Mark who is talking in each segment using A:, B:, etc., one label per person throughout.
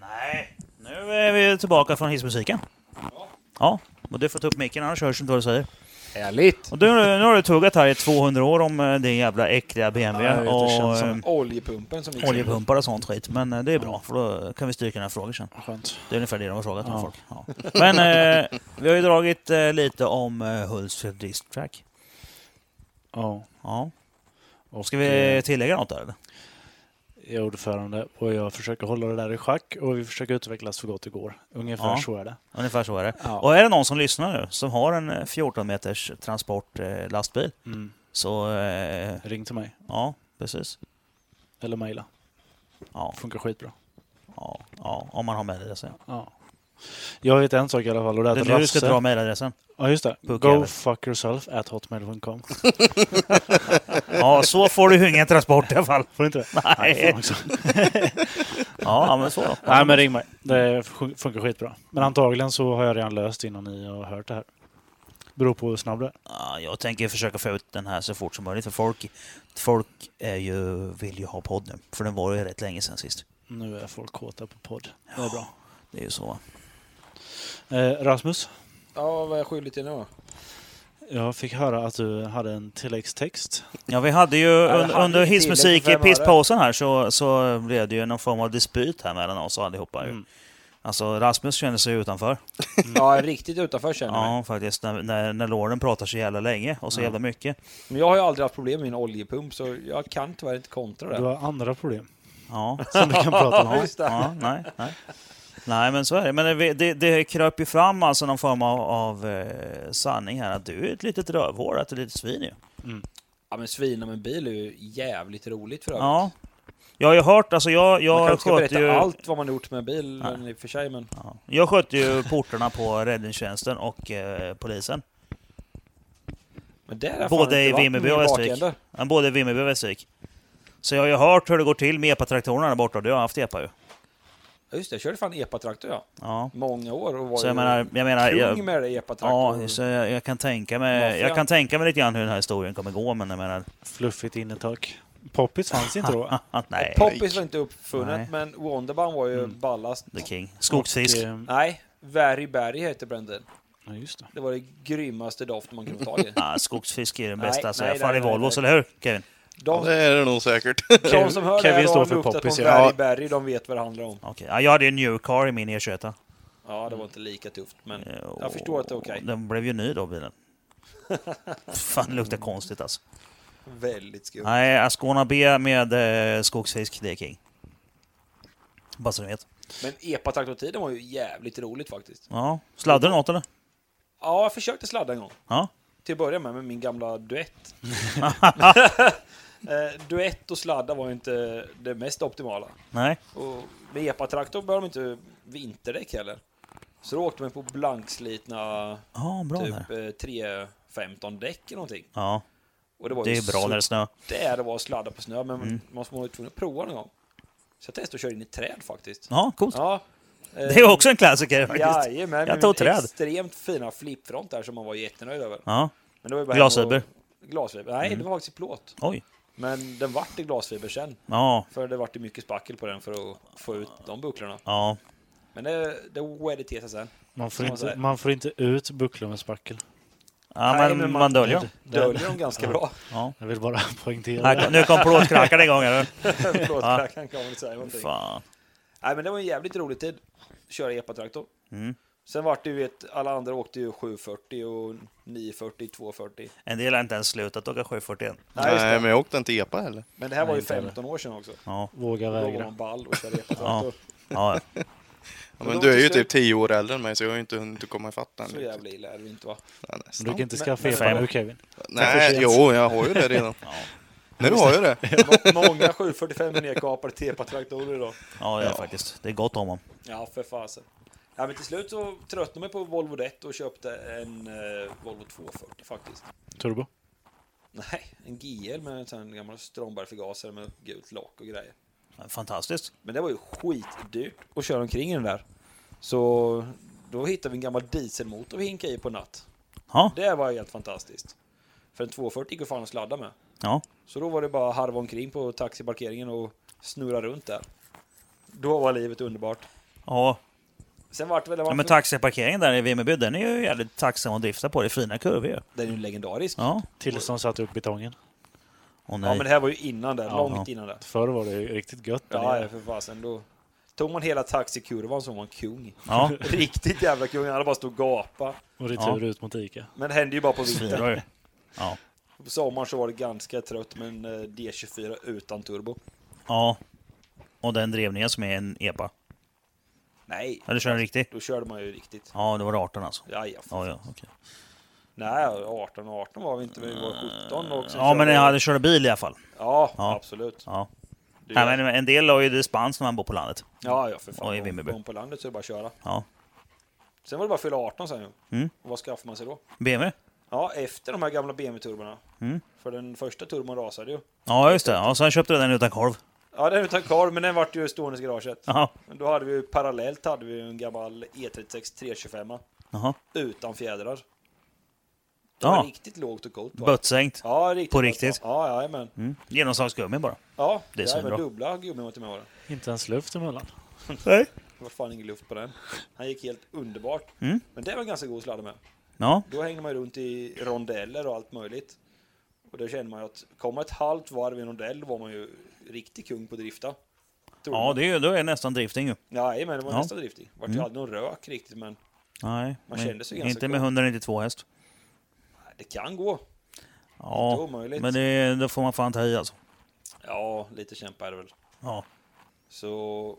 A: Nej, nu är vi tillbaka från hissmusiken. Ja, och du får ta upp micken annars hörs inte vad du säger.
B: Härligt!
A: Och du, nu har du tuggat här i 200 år om eh, din jävla äckliga BMW
B: Ja, jag vet, det
A: och
B: känns som
A: eh,
C: Oljepumpen som gick
A: oljepumpar och sånt skit. Men eh, det är bra, för då kan vi styrka några frågor sen.
B: Skönt.
A: Det är ungefär det de har frågat om folk. Ja. Men eh, vi har ju dragit eh, lite om eh, Hults disktrack.
B: Ja.
A: Ja.
B: Och eh,
A: Ska vi tillägga något där eller?
B: är ordförande och jag försöker hålla det där i schack och vi försöker utvecklas så gott det går. Ungefär
A: Ja.
B: så är det.
A: Ungefär så är det.
B: Ja.
A: Och är det någon som lyssnar nu som har en eh, 14 meters transport eh, lastbil
B: Mm.
A: så eh,
B: Ring till mig
A: ja, precis.
B: eller mejla.
A: Ja,
B: Funkar skitbra.
A: ja, ja, om man har mejladressen.
B: Ja. Jag vet en sak i alla fall och det är
A: Det är
B: att
A: nu du ska
B: Rasse...
A: dra mejladressen.
B: Ja just det.
A: Puck
B: Go
A: jävel.
B: fuck yourself at hotmail.com.
A: Ja, så får du ju ingen transport i alla fall.
B: Får du inte det?
A: Nej.
B: det får man också.
A: Ja, ja, men så då.
B: Nej men ring mig. Det fun- funkar skitbra. Men antagligen så har jag redan löst innan ni har hört det här. Beror på hur snabb du är.
A: Ja, Jag tänker försöka få ut den här så fort som möjligt. För folk, folk är ju, vill ju ha podd nu. För den var ju rätt länge sedan sist.
B: Nu är folk kåta på podd. Det är bra.
A: Det är ju så.
B: Eh, Rasmus,
C: Ja, vad är jag skyldig till nu?
B: jag fick höra att du hade en tilläggstext.
A: Ja, vi hade ju
C: det
A: un,
C: hade vi
A: under
C: tillägg
A: hissmusik
C: för
A: i
C: fem
A: pisspausen här så, så blev det ju någon form av dispyt här mellan oss allihopa. Ju.
B: Mm.
A: Alltså Rasmus kände sig utanför.
C: Ja, riktigt utanför känner jag mig. Mm.
A: Ja, faktiskt. När, när, när Lauren pratar så jävla länge och så jävla mycket.
C: Men jag har ju aldrig haft problem med min oljepump, så jag kan tyvärr inte kontra
B: Du
C: det.
B: har andra problem
A: Ja,
B: som du kan prata om.
A: ja,
C: just det.
A: ja nej, nej. Nej, men så är det. Men det, det, det kröp ju fram alltså någon form av, av eh, sanning här att du är ett litet rövhår, att du är ett litet svin ju.
C: Ja, men svina med bil är ju jävligt roligt för övrigt.
A: Ja. Jag har ju hört, alltså jag,
C: Man
A: jag
C: kanske ska
A: sköt
C: berätta
A: ju...
C: allt vad man har gjort med bil, men i och för sig, men...
A: Ja. Jag skötte ju portarna på räddningstjänsten och eh, polisen.
C: men där har jag
A: Både
C: fan
A: i
C: inte varit
A: Vimmerby
C: med
A: och
C: min
A: Västervik.
C: bakända.
A: Men både i Vimmerby och Västervik. Så jag har ju hört hur det går till med epatraktorerna där borta, och det har jag haft epa ju.
C: Ja, just det, jag körde fan epatraktor ja.
A: Ja.
C: Många år och var
A: Så
C: ju
A: jag menar, jag menar...
C: kung
A: Jag,
C: med det epatraktor.
A: ja, så jag, jag, kan tänka mig,
C: Maffian.
A: jag kan tänka mig lite grann hur den här historien kommer gå, men jag menar...
B: Fluffigt innertak. Poppis fanns inte då.
A: Ah, nej, Mm.
C: Poppis var inte uppfunnet,
A: Nej.
C: men Wonderbound var ju ballast.
A: the king. Skogsfisk.
B: Och, eh,
C: Nej, Very Berry heter bränden.
B: ja, just det.
C: Det var det grymmaste doften man kunde ta i.
A: Ah, skogsfisk är den
C: Nej,
A: bästa, så
C: nej,
A: jag fan i
C: nej, nej,
A: Volvos,
C: nej.
A: eller hur Kevin?
C: De,
D: Det är det nog säkert.
C: de som hör det
B: Kevin
C: här
B: står
C: och
B: för
C: har luktat på
B: poppis,
C: en
B: ja.
C: Very Berry, de vet vad det handlar om.
A: Okej. Ja, jag hade ju en new car i min E Eh, E21.
C: Ja, det var inte lika tufft, men
A: Eh,
C: jag förstår att det är okej.
A: Den blev ju ny då, bilen. Fan, det luktar konstigt alltså.
C: Väldigt skumt.
A: Nej, Ascona B med eh, skogsfisk, det är king. Bara så ni vet.
C: Men epatraktortiden var ju jävligt roligt faktiskt.
A: Ja. Sladdar du något eller?
C: Ja, jag försökte sladda en gång.
A: Ja.
C: Till att börja med, med min gamla duett. Eh, duett och sladda var ju inte det mest optimala.
A: Nej.
C: Och med epatraktor behöver de inte vinterdäck heller. Så då åkte man på blankslitna
A: Ja, bra där.
C: typ eh, 315 däck eller någonting.
A: Ja,
C: Och det var
A: det
C: ju
A: är bra
C: så
A: när det snö.
C: där det var att sladda på snö,
A: Mm.
C: men man var ju tvungen att prova någon gång. Så jag testade att köra in i träd faktiskt.
A: Ja, coolt.
C: Ja. eh,
A: Det är också en klassiker faktiskt.
C: Jajamän,
A: Jag
C: med
A: tog
C: min
A: träd.
C: extremt fina flipfront där som man var jättenöjd över.
A: Ja.
C: Men det var ju bara
A: Glasfiber? Mm.
C: Glasfiber? Nej, det var faktiskt i plåt.
A: Oj.
C: Men den vart i glasfiber sen.
A: Ja.
C: För det vart ju mycket spackel på den för att få ut de bucklorna.
A: Ja.
C: Men det, det wedde till sig sen.
B: Man får,
C: Som man
B: inte,
C: säger.
B: man får inte ut bucklor med spackel. Mm.
A: Ja,
C: Nej,
A: men,
C: men
A: man,
C: man-
A: döljer dem.
C: Döljer de ganska bra.
B: Jag vill bara poängtera
A: Här
B: det.
A: kom- Nu kom plåtkrackaren igång. Eller?
C: Förlåt, jag kan kan man inte säga någonting.
A: Fan.
C: Nej, men det var en jävligt rolig tid. Köra epatraktor.
A: Mm.
C: Sen vart det ju, vet, alla andra åkte ju 740 och 940, 240.
A: En del har inte ens slutat åka 740 än.
C: Nej, just
D: Nej,
C: det.
D: men jag åkte inte EPA heller.
C: Men det här var ju
B: inte heller.
C: 15 år sedan också.
A: Ja.
B: Våga
C: Då var
B: vägra.
C: man ball och körde E epatraktor.
A: Ja. ja.
D: Ja,
C: Men
D: men
C: då
D: du är ju
C: till
D: typ tio år äldre än mig, så jag har ju inte hunnit komma ifatt än.
C: Så
D: riktigt.
C: jävla illa är det inte va?
D: Ja,
B: Men
D: nästan.
B: Du kan inte
C: Men-
B: skaffa
C: men-
B: epa nu Kevin.
D: Nej, jo, jag har ju det redan. Nu har jag det.
C: Må- Många 745 nekapar tepatraktorer idag.
A: Ja, det är
D: Ja.
A: faktiskt. Det är gott om dem.
C: Ja, för fasen. Ja, men till slut så tröttnade man på Volvo 1 och köpte en eh, Volvo 240 faktiskt.
B: Turbo.
C: Nej, en GL med en sån här gammal Strömberg-förgasare med gult lock och grejer.
A: Fantastiskt.
C: Men det var ju skitdyrt att köra omkring i den där. Så då hittade vi en gammal dieselmotor vi hinkade i på natt.
A: Ja,
C: Det var helt fantastiskt. För en 240 går fan att sladda med.
A: ja.
C: Så då var det bara att harva omkring på taxiparkeringen och snurra runt där. Då var livet underbart.
A: ja.
C: Sen vart det väl...
A: ja men taxiparkeringen där i Vimmerby, den är ju jävligt tacksam att drifta på. Det är fina kurvor ju.
C: Den är ju legendarisk.
A: Ja.
B: Tills de satte upp betongen.
A: Åh
C: Ja,
A: nej.
C: men det här var ju innan det,
B: Ja,
C: långt innan det.
B: Förr var det ju riktigt gött där
C: Ja,
B: nere.
C: ja, för fasen. Då tog man hela taxikurvan som var man kung.
A: Ja,
C: Riktigt jävla kung, alla bara stod och gapa.
B: Och retur ut mot Ica.
C: Men det hände ju bara på vintern.
A: svinbra ju. Ja.
C: På sommaren så var det ganska trött med en eh, D24 utan turbo.
A: ja. Och den drevningen som är en E EPA.
C: Nej,
A: Eller kör en riktig?
C: då körde man ju riktigt.
A: Ja, det var 18 alltså.
C: Ja, ja. fan.
A: Ja, ja, okej.
C: Nej, 18 och 18 var vi inte, vi var 17 och sen
A: ja men
C: körde-
A: jag hade kört bil i alla fall.
C: Ja,
A: Ja.
C: absolut.
A: Ja.
C: Du,
A: Nej, men en del har ju dispens när man bor på landet.
C: ja, ja, för
A: Och i
C: fan.
A: Vimmerby.
C: Om, om på landet så är det bara att köra.
A: Ja.
C: Sen var det bara att fylla 18 sen ju.
A: Mm.
C: Och vad skaffar man sig då?
A: BMW?
C: Ja, efter de här gamla BMW-turborna.
A: Mm.
C: För den första turbon rasade ju.
A: Ja, just det. Och sen köpte du den utan korv.
C: Ja, den är utan korv, men den vart ju stående i garaget.
A: Jaha.
C: Men då hade vi ju parallellt hade vi ju en gammal E E36 325
A: Jaha.
C: utan fjädrar. Det var
A: Ja,
C: riktigt lågt och coolt. va?
A: bötsänkt.
C: Ja, riktigt.
A: På
C: bra.
A: riktigt?
C: Ja, jajamän.
A: Mm. Genomslagsgummi bara.
C: Ja,
A: Det är
C: det är
A: svinbra.
C: dubbla gummimot till mig var det.
B: Inte ens luft emellan.
A: Nej.
C: Det var fan ingen luft på den. Han gick helt underbart.
A: Mm.
C: Men det var ganska god sladd med.
A: Ja.
C: Då hängde man ju runt i rondeller och allt möjligt. Och då kände man ju att komma ett halvt varv i en rondell då var man ju riktig kung på att drifta. Tror
A: Ja,
C: man.
A: det är ju då är det nästan drifting ju.
C: Nej, men det var
A: Ja. Mm.
C: nästan driftig. Vart ju aldrig någon rök riktigt, men
A: Nej,
C: Man
A: men
C: kände sig ganska
A: inte med
C: cool.
A: 192 häst.
C: nej, det kan gå. Inte
A: Ja,
C: omöjligt.
A: men det, då får man fan ta i alltså.
C: Ja, lite kämpa är det väl.
A: Ja.
C: Så,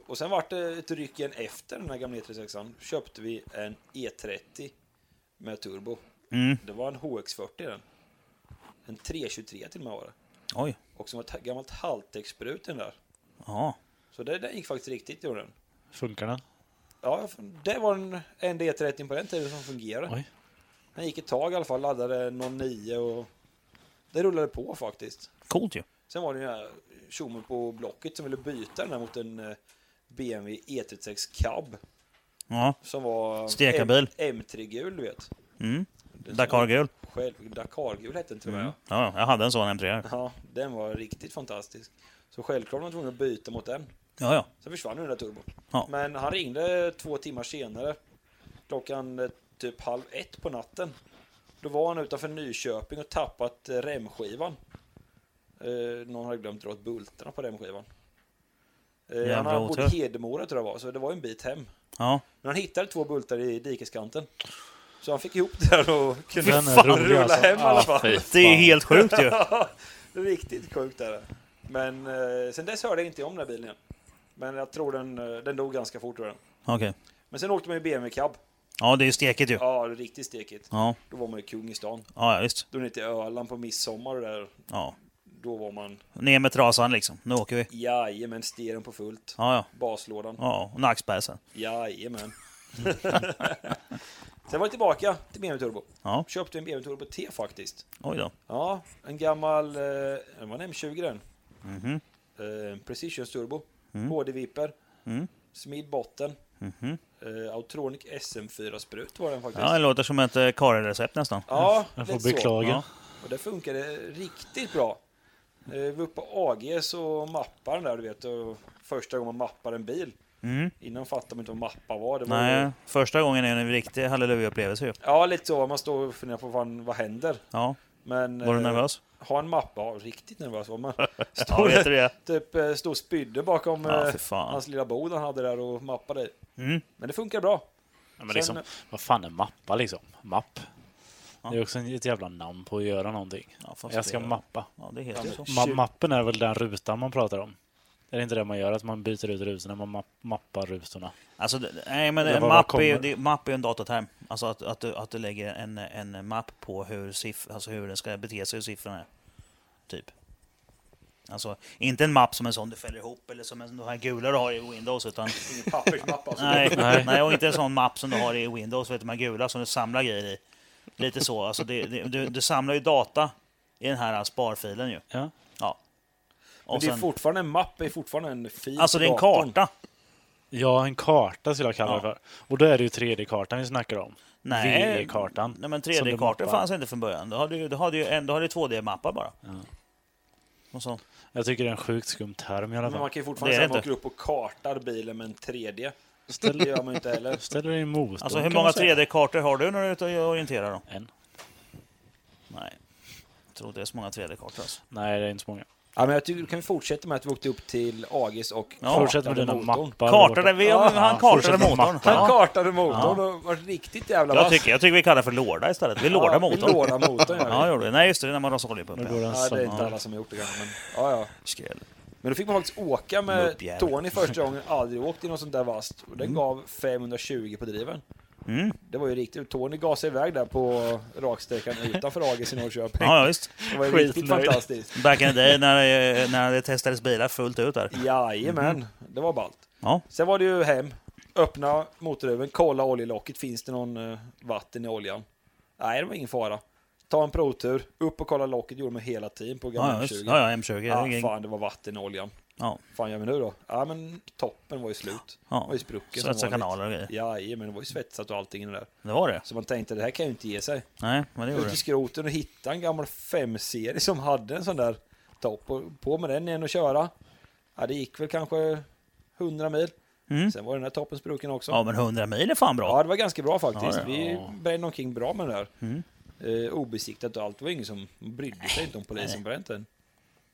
C: och sen vart det ett ryck igen efter den här gamla E36an. Köpte vi en E30 med turbo.
A: Mm.
C: Det var en HX40 den. En 323 till och med var det.
A: Oj.
C: Och som var ett gammalt halvtäcksbrut i den där.
A: Ja.
C: Så det, det gick faktiskt riktigt gjorde den.
B: Funkar den?
C: Ja, det var en enda E30 på den tiden som fungerade.
B: Oj.
C: Den gick ett tag i alla fall, laddade 09 och det rullade på faktiskt.
A: Coolt ju.
C: Sen var det den här tjommen på Blocket som ville byta den här mot en eh, BMW E36 E Cab
A: Ja.
C: som var
A: Stekarbil.
C: M- M3-gul, du vet.
A: Mm.
C: Den som-
A: Dakargul.
C: Själv, Dakar-gul hette den till och med.
A: Mm. Ja, jag hade en sån M3 här.
C: Ja, den var riktigt fantastisk. Så självklart var man tvungen att byta mot den.
A: Ja, ja.
C: Sen försvann den där turbon.
A: Ja.
C: Men han ringde två timmar senare, klockan eh, typ halv ett på natten. Då var han utanför Nyköping och tappat eh, remskivan. Eh, någon hade glömt dra åt bultarna på remskivan. Eh, han
A: Jävla
C: hade
A: otur.
C: bott i Hedemora tror jag var, så det var ju en bit hem.
A: Ja.
C: Men han hittade två bultar i dikeskanten. Så han fick ihop det där och kunde
B: Den är
C: fan
B: rolig
C: rulla
B: alltså.
C: hem i alla fall.
A: Det är ju helt sjukt ju.
C: Riktigt sjukt är det. Men eh, sen dess hörde jag inte om den här bilen igen. Men jag tror den, eh, den dog ganska fort. Tror jag.
A: Okej.
C: Men sen åkte man ju BMW cab.
A: Ja, det är ju stekigt ju.
C: Ja, det är riktigt stekigt.
A: Ja,
C: Då var man ju kung i stan.
A: ja, ja visst.
C: Då var ni till Öland på midsommar och där.
A: Ja.
C: Då var man,
A: Ner med trasan liksom. Nu åker vi.
C: jajamän, stereon på fullt.
A: Ja, ja.
C: Baslådan,
A: Ja, och nackspärr sen.
C: jajamän. sen var jag tillbaka till BMW Turbo.
A: Ja,
C: Köpte en BMW Turbo T faktiskt.
A: oj då. Ja.
C: Ja, en gammal, eh, det var en M20 den.
A: Mhm.
C: Eh, Precision Turbo,
A: Mm.
C: HD-viper,
A: Mm.
C: smid botten,
A: Mhm.
C: eh, Autronic SM4-sprut var den faktiskt.
A: Ja, det låter som ett eh, Karin-recept nästan.
C: Ja,
B: Jag
C: lite
B: får
C: så.
B: beklaga.
A: Ja.
C: Och det funkade riktigt bra. Eh, Vi var uppe på AGS och mappade den där, du vet. Och första gången man mappar en bil.
A: Mm.
C: Innan fattade man inte vad mappa var. Det var
A: Nej, första gången är det en riktig halleluja-upplevelse ju.
C: Ja, lite så. Man står och funderar på fan, vad händer.
A: Ja,
C: Men
A: var du
C: eh,
A: nervös?
C: ha en mappa. Ja, riktigt nervös var man.
A: Ja,
C: Stod,
A: vet du det?
C: typ, eh, stod och spydde bakom
A: Ja,
C: eh,
A: för fan.
C: hans lilla bod han hade där och mappade i.
A: Mm.
C: Men det funkar bra.
B: Ja, men liksom,
C: Sen-
B: vad fan är mappa liksom? Mapp.
A: Ja.
B: Det är också ett jävla namn på att göra någonting.
A: Ja, fast
B: Jag ska
A: det-
B: mappa.
A: Ja, det heter ju så.
B: Ma-
C: Tju-
B: mappen är väl den rutan man pratar om? Är det inte det man gör? Att man byter ut rutorna, man mapp- mappar rutorna.
A: Alltså, det- nej, men
B: Eller
A: en
B: vad-
A: mapp
B: vad
A: är, ju-
B: kommer?
A: det, mapp är ju en dataterm. Alltså att, att, du, att du lägger en, en mapp på hur, siff, alltså hur den ska bete sig, hur siffrorna är. Typ. Alltså, inte en mapp som en sån du fäller ihop eller som en, de här gula du har i Windows. Utan,
C: Ingen pappersmapp alltså.
A: nej, nej.
E: Nej.
A: och inte en sån mapp som du har i Windows, vet du, de här gula som du samlar grejer i. Lite så. Alltså, det, det, du, du samlar ju data i den här äh, sparfilen ju.
B: Ja.
A: Ja.
C: Men
A: Och
C: det är
A: sen,
C: fortfarande en mapp, det är fortfarande en fil
A: alltså det är en karta.
B: Ja, en karta skulle jag kalla
A: Ja.
B: det för. Och då är det ju 3D-kartan vi snackar om.
A: Nej.
B: VD-kartan.
A: Nej men
B: Som du
A: 3D-kartor
B: mappar.
A: fanns inte från början. Då hade du, då hade ju, en- då hade du 2D-mappar bara. Och så.
B: Jag tycker det är en sjukt skum term i alla
C: Men man
B: fall.
C: kan ju
A: Det
C: fortfarande
A: är
C: säga
A: det
C: att man
A: inte.
C: åker upp och kartar bilen med en 3D.
B: Ställ,
C: Det gör man ju inte heller.
B: ställer dig emot
A: Alltså
B: dem,
A: hur
B: kan man
A: många
B: säga.
A: 3D-kartor har du när du är ute och orienterar då?
B: En.
A: Nej. Jag tror inte det är så många 3D-kartor alltså.
B: Nej, det är inte så många.
C: Ja, men jag tycker, kan vi fortsätta med att vi åkte upp till Agis och
A: Ja,
B: Fortsätt med dina
C: motorn.
B: mappar.
A: Kartade vi,
C: Ja,
A: han
B: ja,
A: kartade
B: fortsätt med
A: motorn.
B: mappar.
C: Han
A: Ja.
C: kartade motorn och var riktigt jävla
A: Jag
C: vass.
A: tycker, jag tycker vi kallar det för låda istället. Vi lådar
C: Ja, vi
A: motorn.
C: lådar motorn gör vi.
A: Ja, gjorde vi. Nej, just det. det är När man rasar oljepump.
B: Nu
A: ja.
B: går den
C: Ja, det är
B: sönder.
C: inte alla som har gjort det kanske, men ja, ja.
A: Skräll.
C: Men då fick man faktiskt åka med
A: Muppjävel.
C: Tony första gången, aldrig åkt i något sånt där vasst. Och den gav 520 på driven.
A: Mm.
C: Det var ju riktigt. Tony gasade iväg där på raksträckan utanför Agis i Norrköping.
A: Ja, ja, visst.
C: Det var ju riktigt
B: skitnöjd.
C: fantastiskt.
A: Back in the day när, eh, när det testades bilar fullt ut där.
C: Jajamän,
A: Mm.
C: det var ballt.
A: Ja.
C: Sen var det ju hem, öppna motorhuven, kolla oljelocket. Finns det någon eh, vatten i oljan? Nej, det var ingen fara. Ta en provtur, upp och kolla locket. gjorde man hela tiden på
A: Ja, ja,
C: gamla
A: visst.
C: 20.
A: ja, ja, M20. det är
C: Ah,
A: ingen-
C: fan, det var vatten i oljan.
A: Ja.
C: fan gör vi nu då? Ja, men toppen var ju slut.
A: Ja.
C: var ju sprucken som
A: Svetsa
C: vanligt.
A: kanaler och grejer.
C: Jajamän, det var ju svetsat och allting i det där.
A: Det var det?
C: Så man tänkte, det här kan ju inte ge sig.
A: Nej, men det gjorde
C: Ut i
A: det.
C: skroten och hitta en gammal 5-serie som hade en sån där topp. Och på med den igen och köra. Ja, det gick väl kanske 100 mil.
A: Mm.
C: Sen var den här toppen sprucken också.
A: Ja, men 100 mil är fan bra.
C: Ja, det var ganska bra faktiskt.
A: Ja, det-
C: Vi
B: ja.
C: brände omkring bra med det där.
A: Mm.
C: Eh, obesiktat och allt. Det var ingen som brydde sig inte om polisen bränt den.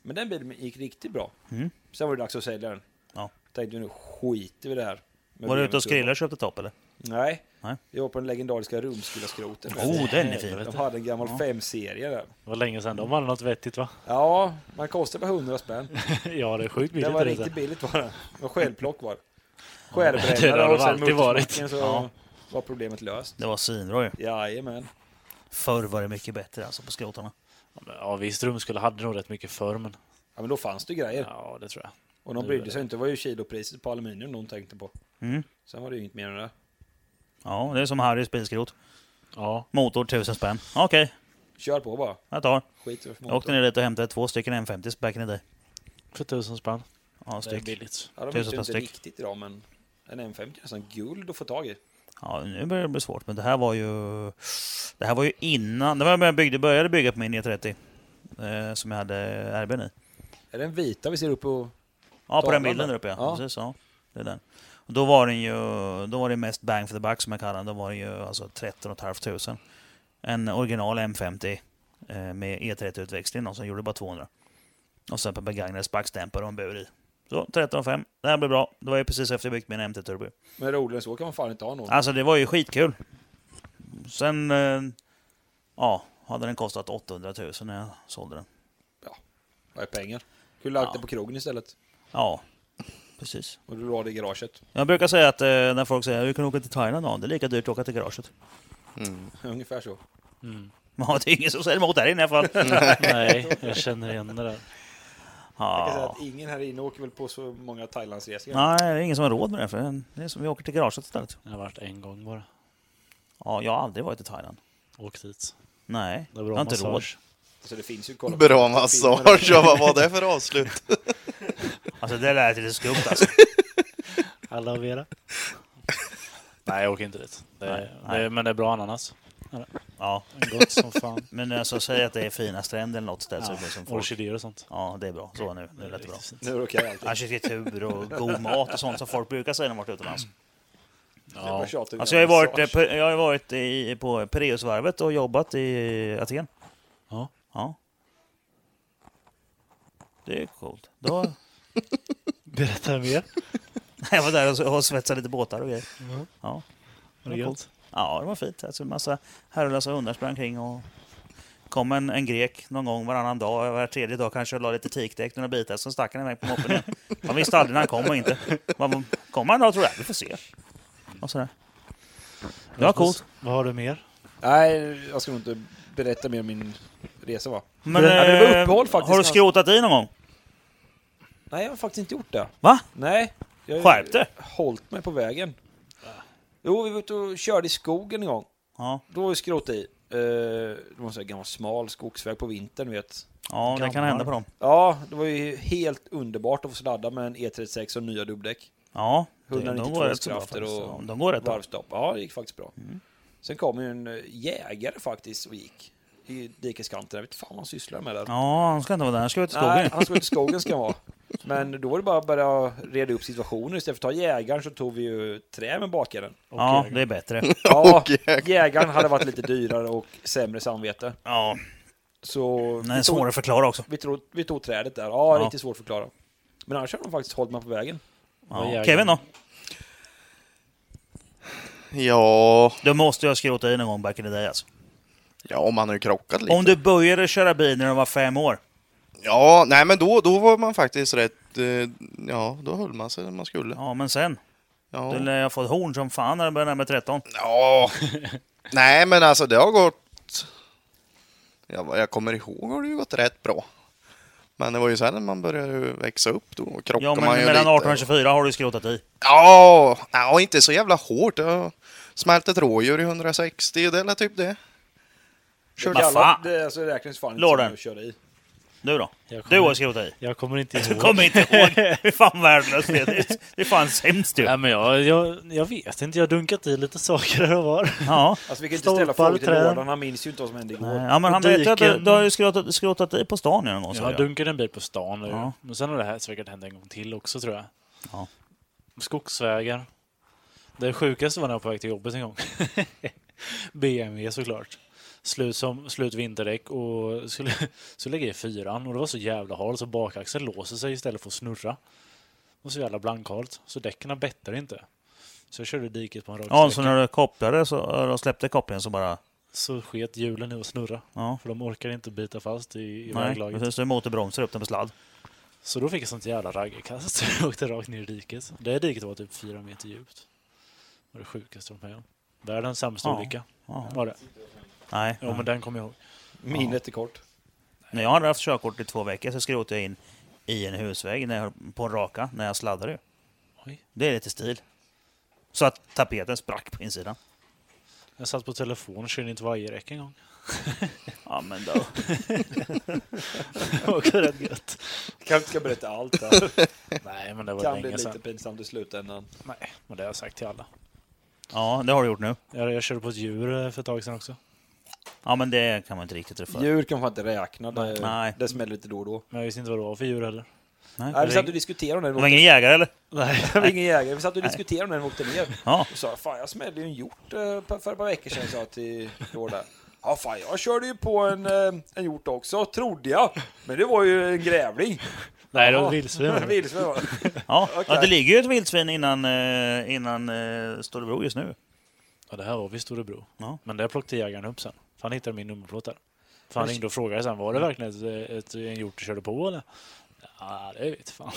C: Men den bilen gick riktigt bra.
A: Mm.
C: Sen var det dags att sälja den.
A: Ja.
C: Tänkte nu skiter vi i det här. med
A: Var du
C: BMW
A: ute och
C: Turbo.
A: skrillade och köpte topp eller?
C: Nej.
A: Nej.
C: Jag var på den legendariska Rumskullaskroten.
A: Oh, den är fin.
C: De hade en gammal
A: Ja.
C: 5-serie där.
B: Det var länge sedan. De hade något vettigt va?
C: Ja, man kostade väl 100 spänn.
B: ja, det är sjukt billigt.
C: Det var
B: är
C: riktigt
B: det.
C: billigt var det. Det var självplock var det.
B: Det har
C: Skärbrännare
B: det
C: och sen
B: alltid varit.
C: motorsmacken så
A: Ja.
C: var problemet löst.
A: Det var svinbra ju.
C: Jajamän.
A: Förr var det mycket bättre alltså på skrotarna.
B: Ja, visst. Rumskulla hade nog rätt mycket förr, men...
C: Ja men då fanns det ju grejer.
B: Ja, det tror jag.
C: Och de
B: Nu är
C: brydde
B: det-
C: sig inte. Det var ju kilopriset på aluminium de tänkte på.
A: Mm.
C: Sen var det ju inget mer än det.
A: Ja, det är som Harrys bilskrot.
B: Ja.
A: Motor 1000 spänn. Okej,
C: Kör på bara.
A: jag tar.
C: Skit i vad för
A: Jag åkte ner
C: motor.
A: dit och hämtade två stycken M50s back in the day.
B: För tusen spänn.
A: Ja,
B: Det är
A: styck.
B: billigt.
C: Ja, de
A: Tusen
C: hittar ju inte
A: styck.
C: riktigt idag men en M50 är nästan guld att få tag i.
A: Ja, nu börjar det bli svårt, men det här var ju... Det här var ju innan... Det var när jag byggde, började bygga på min E30. Eh, som jag hade RBn i.
C: Är den vita vi ser uppe och...
A: Ja, på den
C: Dalarna.
A: bilden där uppe ja.
C: Ja.
A: Precis, ja. Det är den. Och då var den ju, då var det mest bang for the buck som jag kallar den. Då var det ju alltså 13 500. En original M50 eh, med E30-utväxling, någon som gjorde bara 200. Och sen på begagnade backstämpare och en bur i. Så 13 500. Det här blev bra. Det var ju precis efter jag byggt min MT Turbo.
C: Men roligare än så kan man fan inte ha någon.
A: Alltså det var ju skitkul. Sen, eh, ja, hade den kostat 800 000 när jag sålde den.
C: Vad är pengar? Kunde lagt
A: Ja.
C: det på krogen istället.
A: Ja, precis.
C: Och du la det i garaget.
A: Jag brukar säga att eh, när folk säger att du kan åka till Thailand, ja, det är lika dyrt att åka till garaget.
D: Mm.
C: Ungefär så.
A: Ja, det är ingen som säger emot här inne i alla fall.
B: Nej, jag känner igen det där.
C: Jag kan säga
A: Ja.
C: att ingen här inne åker väl på så många Thailandsresor.
A: Nej, det är ingen som har råd med det. För det är som vi åker till garaget istället.
B: Jag har varit en gång bara.
A: Ja, jag har aldrig varit i Thailand.
B: Åkt dit.
A: Nej,
B: Det var
A: jag
B: bra
A: har inte råd.
B: massage.
C: Så Alltså, det finns ju kolla på
D: Bra
C: filmer.
D: massage, ja, vad var det för avslut?
A: Alltså det lät lite skumt alltså.
B: Alla och Vera. Nej, jag åker inte dit. Det är,
A: Nej,
B: Det är, men det är bra ananas.
A: Ja,
B: Gott som fan.
A: men alltså säg att det är fina stränder eller något ställe så
B: Ja,
A: det blir som folk.
B: Orkidéer och sånt.
A: Ja, det är bra. Så nu, nu lät det bra.
C: Nu råkar jag alltid.
A: Arkitektur och god mat och sånt som folk brukar säga när man varit utomlands.
C: Jag bara
B: Ja.
C: tjatar om
A: Alltså jag har ju
C: massage.
A: varit, eh, på- jag har ju varit i, på Pireusvarvet och jobbat i Aten.
B: Ja.
A: Ja. Det är coolt. Då,
B: Berätta mer.
A: jag var där och s- och svetsade lite båtar och grejer. Ja.
B: Var det gött?
A: ja, det var fint. Alltså, en massa herrelösa hundar sprang omkring och kom en, en grek någon gång varannan dag, var tredje dag kanske, och la lite tikdäck, några bitar, sen stack han iväg på moppen igen. Man visste aldrig när han kom och inte. Man, kom han då tror jag, vi får se. Och sådär. Det var coolt.
B: Vad har du mer?
C: Nej, jag ska nog inte berätta mer om min resa va?
A: Men,
C: Ja, det var
A: eh,
C: uppehåll faktiskt.
A: har du skrotat i någon gång?
C: Nej, jag har faktiskt inte gjort det.
A: Va?
C: Nej. Jag har
A: Skärp dig!
C: hållit mig på vägen. Jo, vi var ute och körde i skogen en gång.
A: Ja,
C: Då var vi skrot i. Eh, Det var en sån här gammal smal skogsväg på vintern, du vet.
A: ja det kan
B: Gammal.
A: hända på dem.
C: Ja, det var ju helt underbart att få sladda med en E36 och nya dubbdäck.
A: Ja, det- de
C: 192
A: går rätt så bra
C: krafter
A: faktiskt.
C: och
A: Ja, De går rätt bra. Mm.
C: Varvstopp. Ja, det gick faktiskt bra. Sen kom ju en eh, jägare faktiskt och gick i dikeskanten. Jag vet fan vad han sysslar med där.
A: Ja, han ska inte vara där. Han ska ut i
C: Nej,
A: skogen.
C: han skulle till skogen ska han vara. Men då var det bara att börja reda upp situationen. Istället för att ta jägaren så tog vi ju trä med bakaren.
A: Ja, det är bättre.
C: Ja,
D: Och jägaren.
C: jägaren hade varit lite dyrare och sämre samvete.
A: Ja,
C: Så
A: den är
C: vi, tog,
A: svår att förklara också.
C: vi, tog, vi tog trädet där. Ja,
A: Ja.
C: riktigt svårt att förklara. Men annars har de faktiskt hållit mig på vägen.
B: Vad
A: Ja.
B: jägar.
A: Kevin då?
D: Ja,
A: Du måste ju ha skrotat i någon gång back in the day alltså.
D: ja om man har ju krockat lite.
A: Om du började köra bil när du var fem år.
D: Ja, nej men då, då var man faktiskt rätt... eh, Ja, då höll man sig där man skulle.
A: Ja, men sen.
D: Ja.
A: Du lär jag fått horn som fan när du började närma 13.
D: Ja. Nej, men alltså det har gått... Jag, vad jag kommer ihåg har det ju gått rätt bra. Men det var ju sen när man började växa upp då krockade
A: Ja, men
D: man ju
A: mellan
D: lite.
A: 18 och 24 har du skrotat i.
D: Ja, ja, inte så jävla hårt. Jag smält ett rådjur i 160, det är väl typ det.
C: Det,
A: Vad fan?
C: kallar, det alltså, det räknas fan inte
A: Lådan.
C: som att köra i.
A: Du då?
B: Jag kommer-
A: Du har skrotat i.
B: Jag kommer inte
A: Du
B: ihåg.
A: kommer inte ihåg. Hur fan värdelöst det är. Det är fan sämst ju.
B: Nej, men jag, jag, jag vet inte. Jag har dunkat i lite saker här och var.
A: Ja.
C: Alltså vi kan ju inte ställa
B: Stolpar,
C: frågor till
B: träd.
C: Lådan, han minns ju inte vad som hände igår.
A: Ja, men han vet ju att du,
B: Diken.
A: du har ju skrotat, skrotat i på stan ju någon gång.
B: Jag
A: sa
B: har
A: jag.
B: dunkat en bil på stan nu.
A: Ja.
B: Men sen har det här säkert hänt en gång till också tror jag.
A: Ja.
B: Skogsvägar. Det sjukaste var när jag var på väg till jobbet en gång. BMW såklart. Slut, som, slut vinterdäck och skulle, så lägger jag i fyran och det var så jävla halt så bakaxeln låser sig istället för att snurra. Och så jävla blankhalt. Så däcken bettar inte. Så jag körde i diket på en rak
A: Ja, så
B: sträcka.
A: när du kopplade så, eller släppte kopplingen så bara...
B: Så sket hjulen i att snurra.
A: Ja.
B: För de orkar inte bita fast i, i
A: Nej,
B: väglaget.
A: precis. Du motorbromsar upp den på sladd.
B: Så då fick jag sånt jävla raggarkast och åkte rakt ner i diket. Det här diket var typ fyra meter djupt. Det var det sjukaste jag varit med om. Världens sämsta
A: Ja.
B: olycka
A: Ja.
B: var det.
A: Nej.
B: Jo, men den kommer jag ihåg.
C: Minnet är kort.
A: När jag hade haft körkort i två veckor så skrotade jag in i en husvägg när jag, på en raka när jag sladdade. ju.
B: Oj.
A: Det är lite stil. Så att tapeten sprack på insidan.
B: Jag satt på telefon och körde in ett vajerräck en gång.
A: Ja, men då.
B: Det var också rätt gött.
C: Kanske inte ska berätta allt där.
B: Nej, men det var
C: kan bli
B: länge
C: lite
B: sedan.
C: pinsamt i slutändan.
B: Nej, men det har jag sagt till alla.
A: Ja, det har du gjort nu.
B: Jag, jag körde på ett djur eh, för ett tag sedan också.
A: Ja, men det kan man inte riktigt träffa.
C: Djur kan man inte räkna, det,
A: Nej.
C: det smäller lite då och då.
B: Men jag visste inte vad det var för djur heller.
A: Nej.
C: Nej, vi satt och diskuterade om det.
A: Det var ingen jägare eller?
B: Nej.
C: Det var ingen jägare. Vi satt och diskuterade när den åkte ner.
A: Ja.
C: Och sa, fan jag smällde ju en hjort eh, på- för ett par veckor sedan, sa jag till Lord där. Ja, fan jag körde ju på en, eh, en hjort också, trodde jag. Men det var ju en grävling.
B: Nej, det var
C: Ja,
B: ett vildsvin.
C: en vildsvin var det.
A: Ja. ja,
C: Okej.
A: det ligger ju ett vildsvin innan, eh, innan eh, Storebro just nu.
B: Ja, det här var vid Storebro.
A: Ja.
B: Men där plockade jägaren upp sen. För han hittade min nummerplåt där. För han ringde och frågade sen, var det verkligen ett, ett, en hjort du körde på eller? Ja, det vet fan.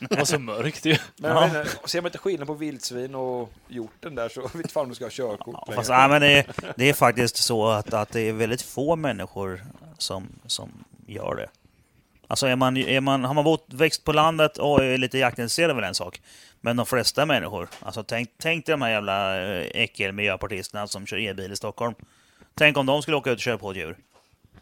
B: Det var så mörkt ju.
C: Men
A: Ja.
C: jag menar, ser man inte skillnad på vildsvin och hjorten där så vet fan om du ska ha körkort
A: Ja,
C: längre.
A: fast, nej, men det, är, det är faktiskt så att, att det är väldigt få människor som, som gör det. Alltså är man, är man, har man bott, växt på landet och är lite jaktintresserad är väl en sak. Men de flesta människor, alltså tänk, tänk dig de här jävla eh, äckelmiljöpartisterna som kör elbil i Stockholm. Tänk om de skulle åka ut och köra på ett djur.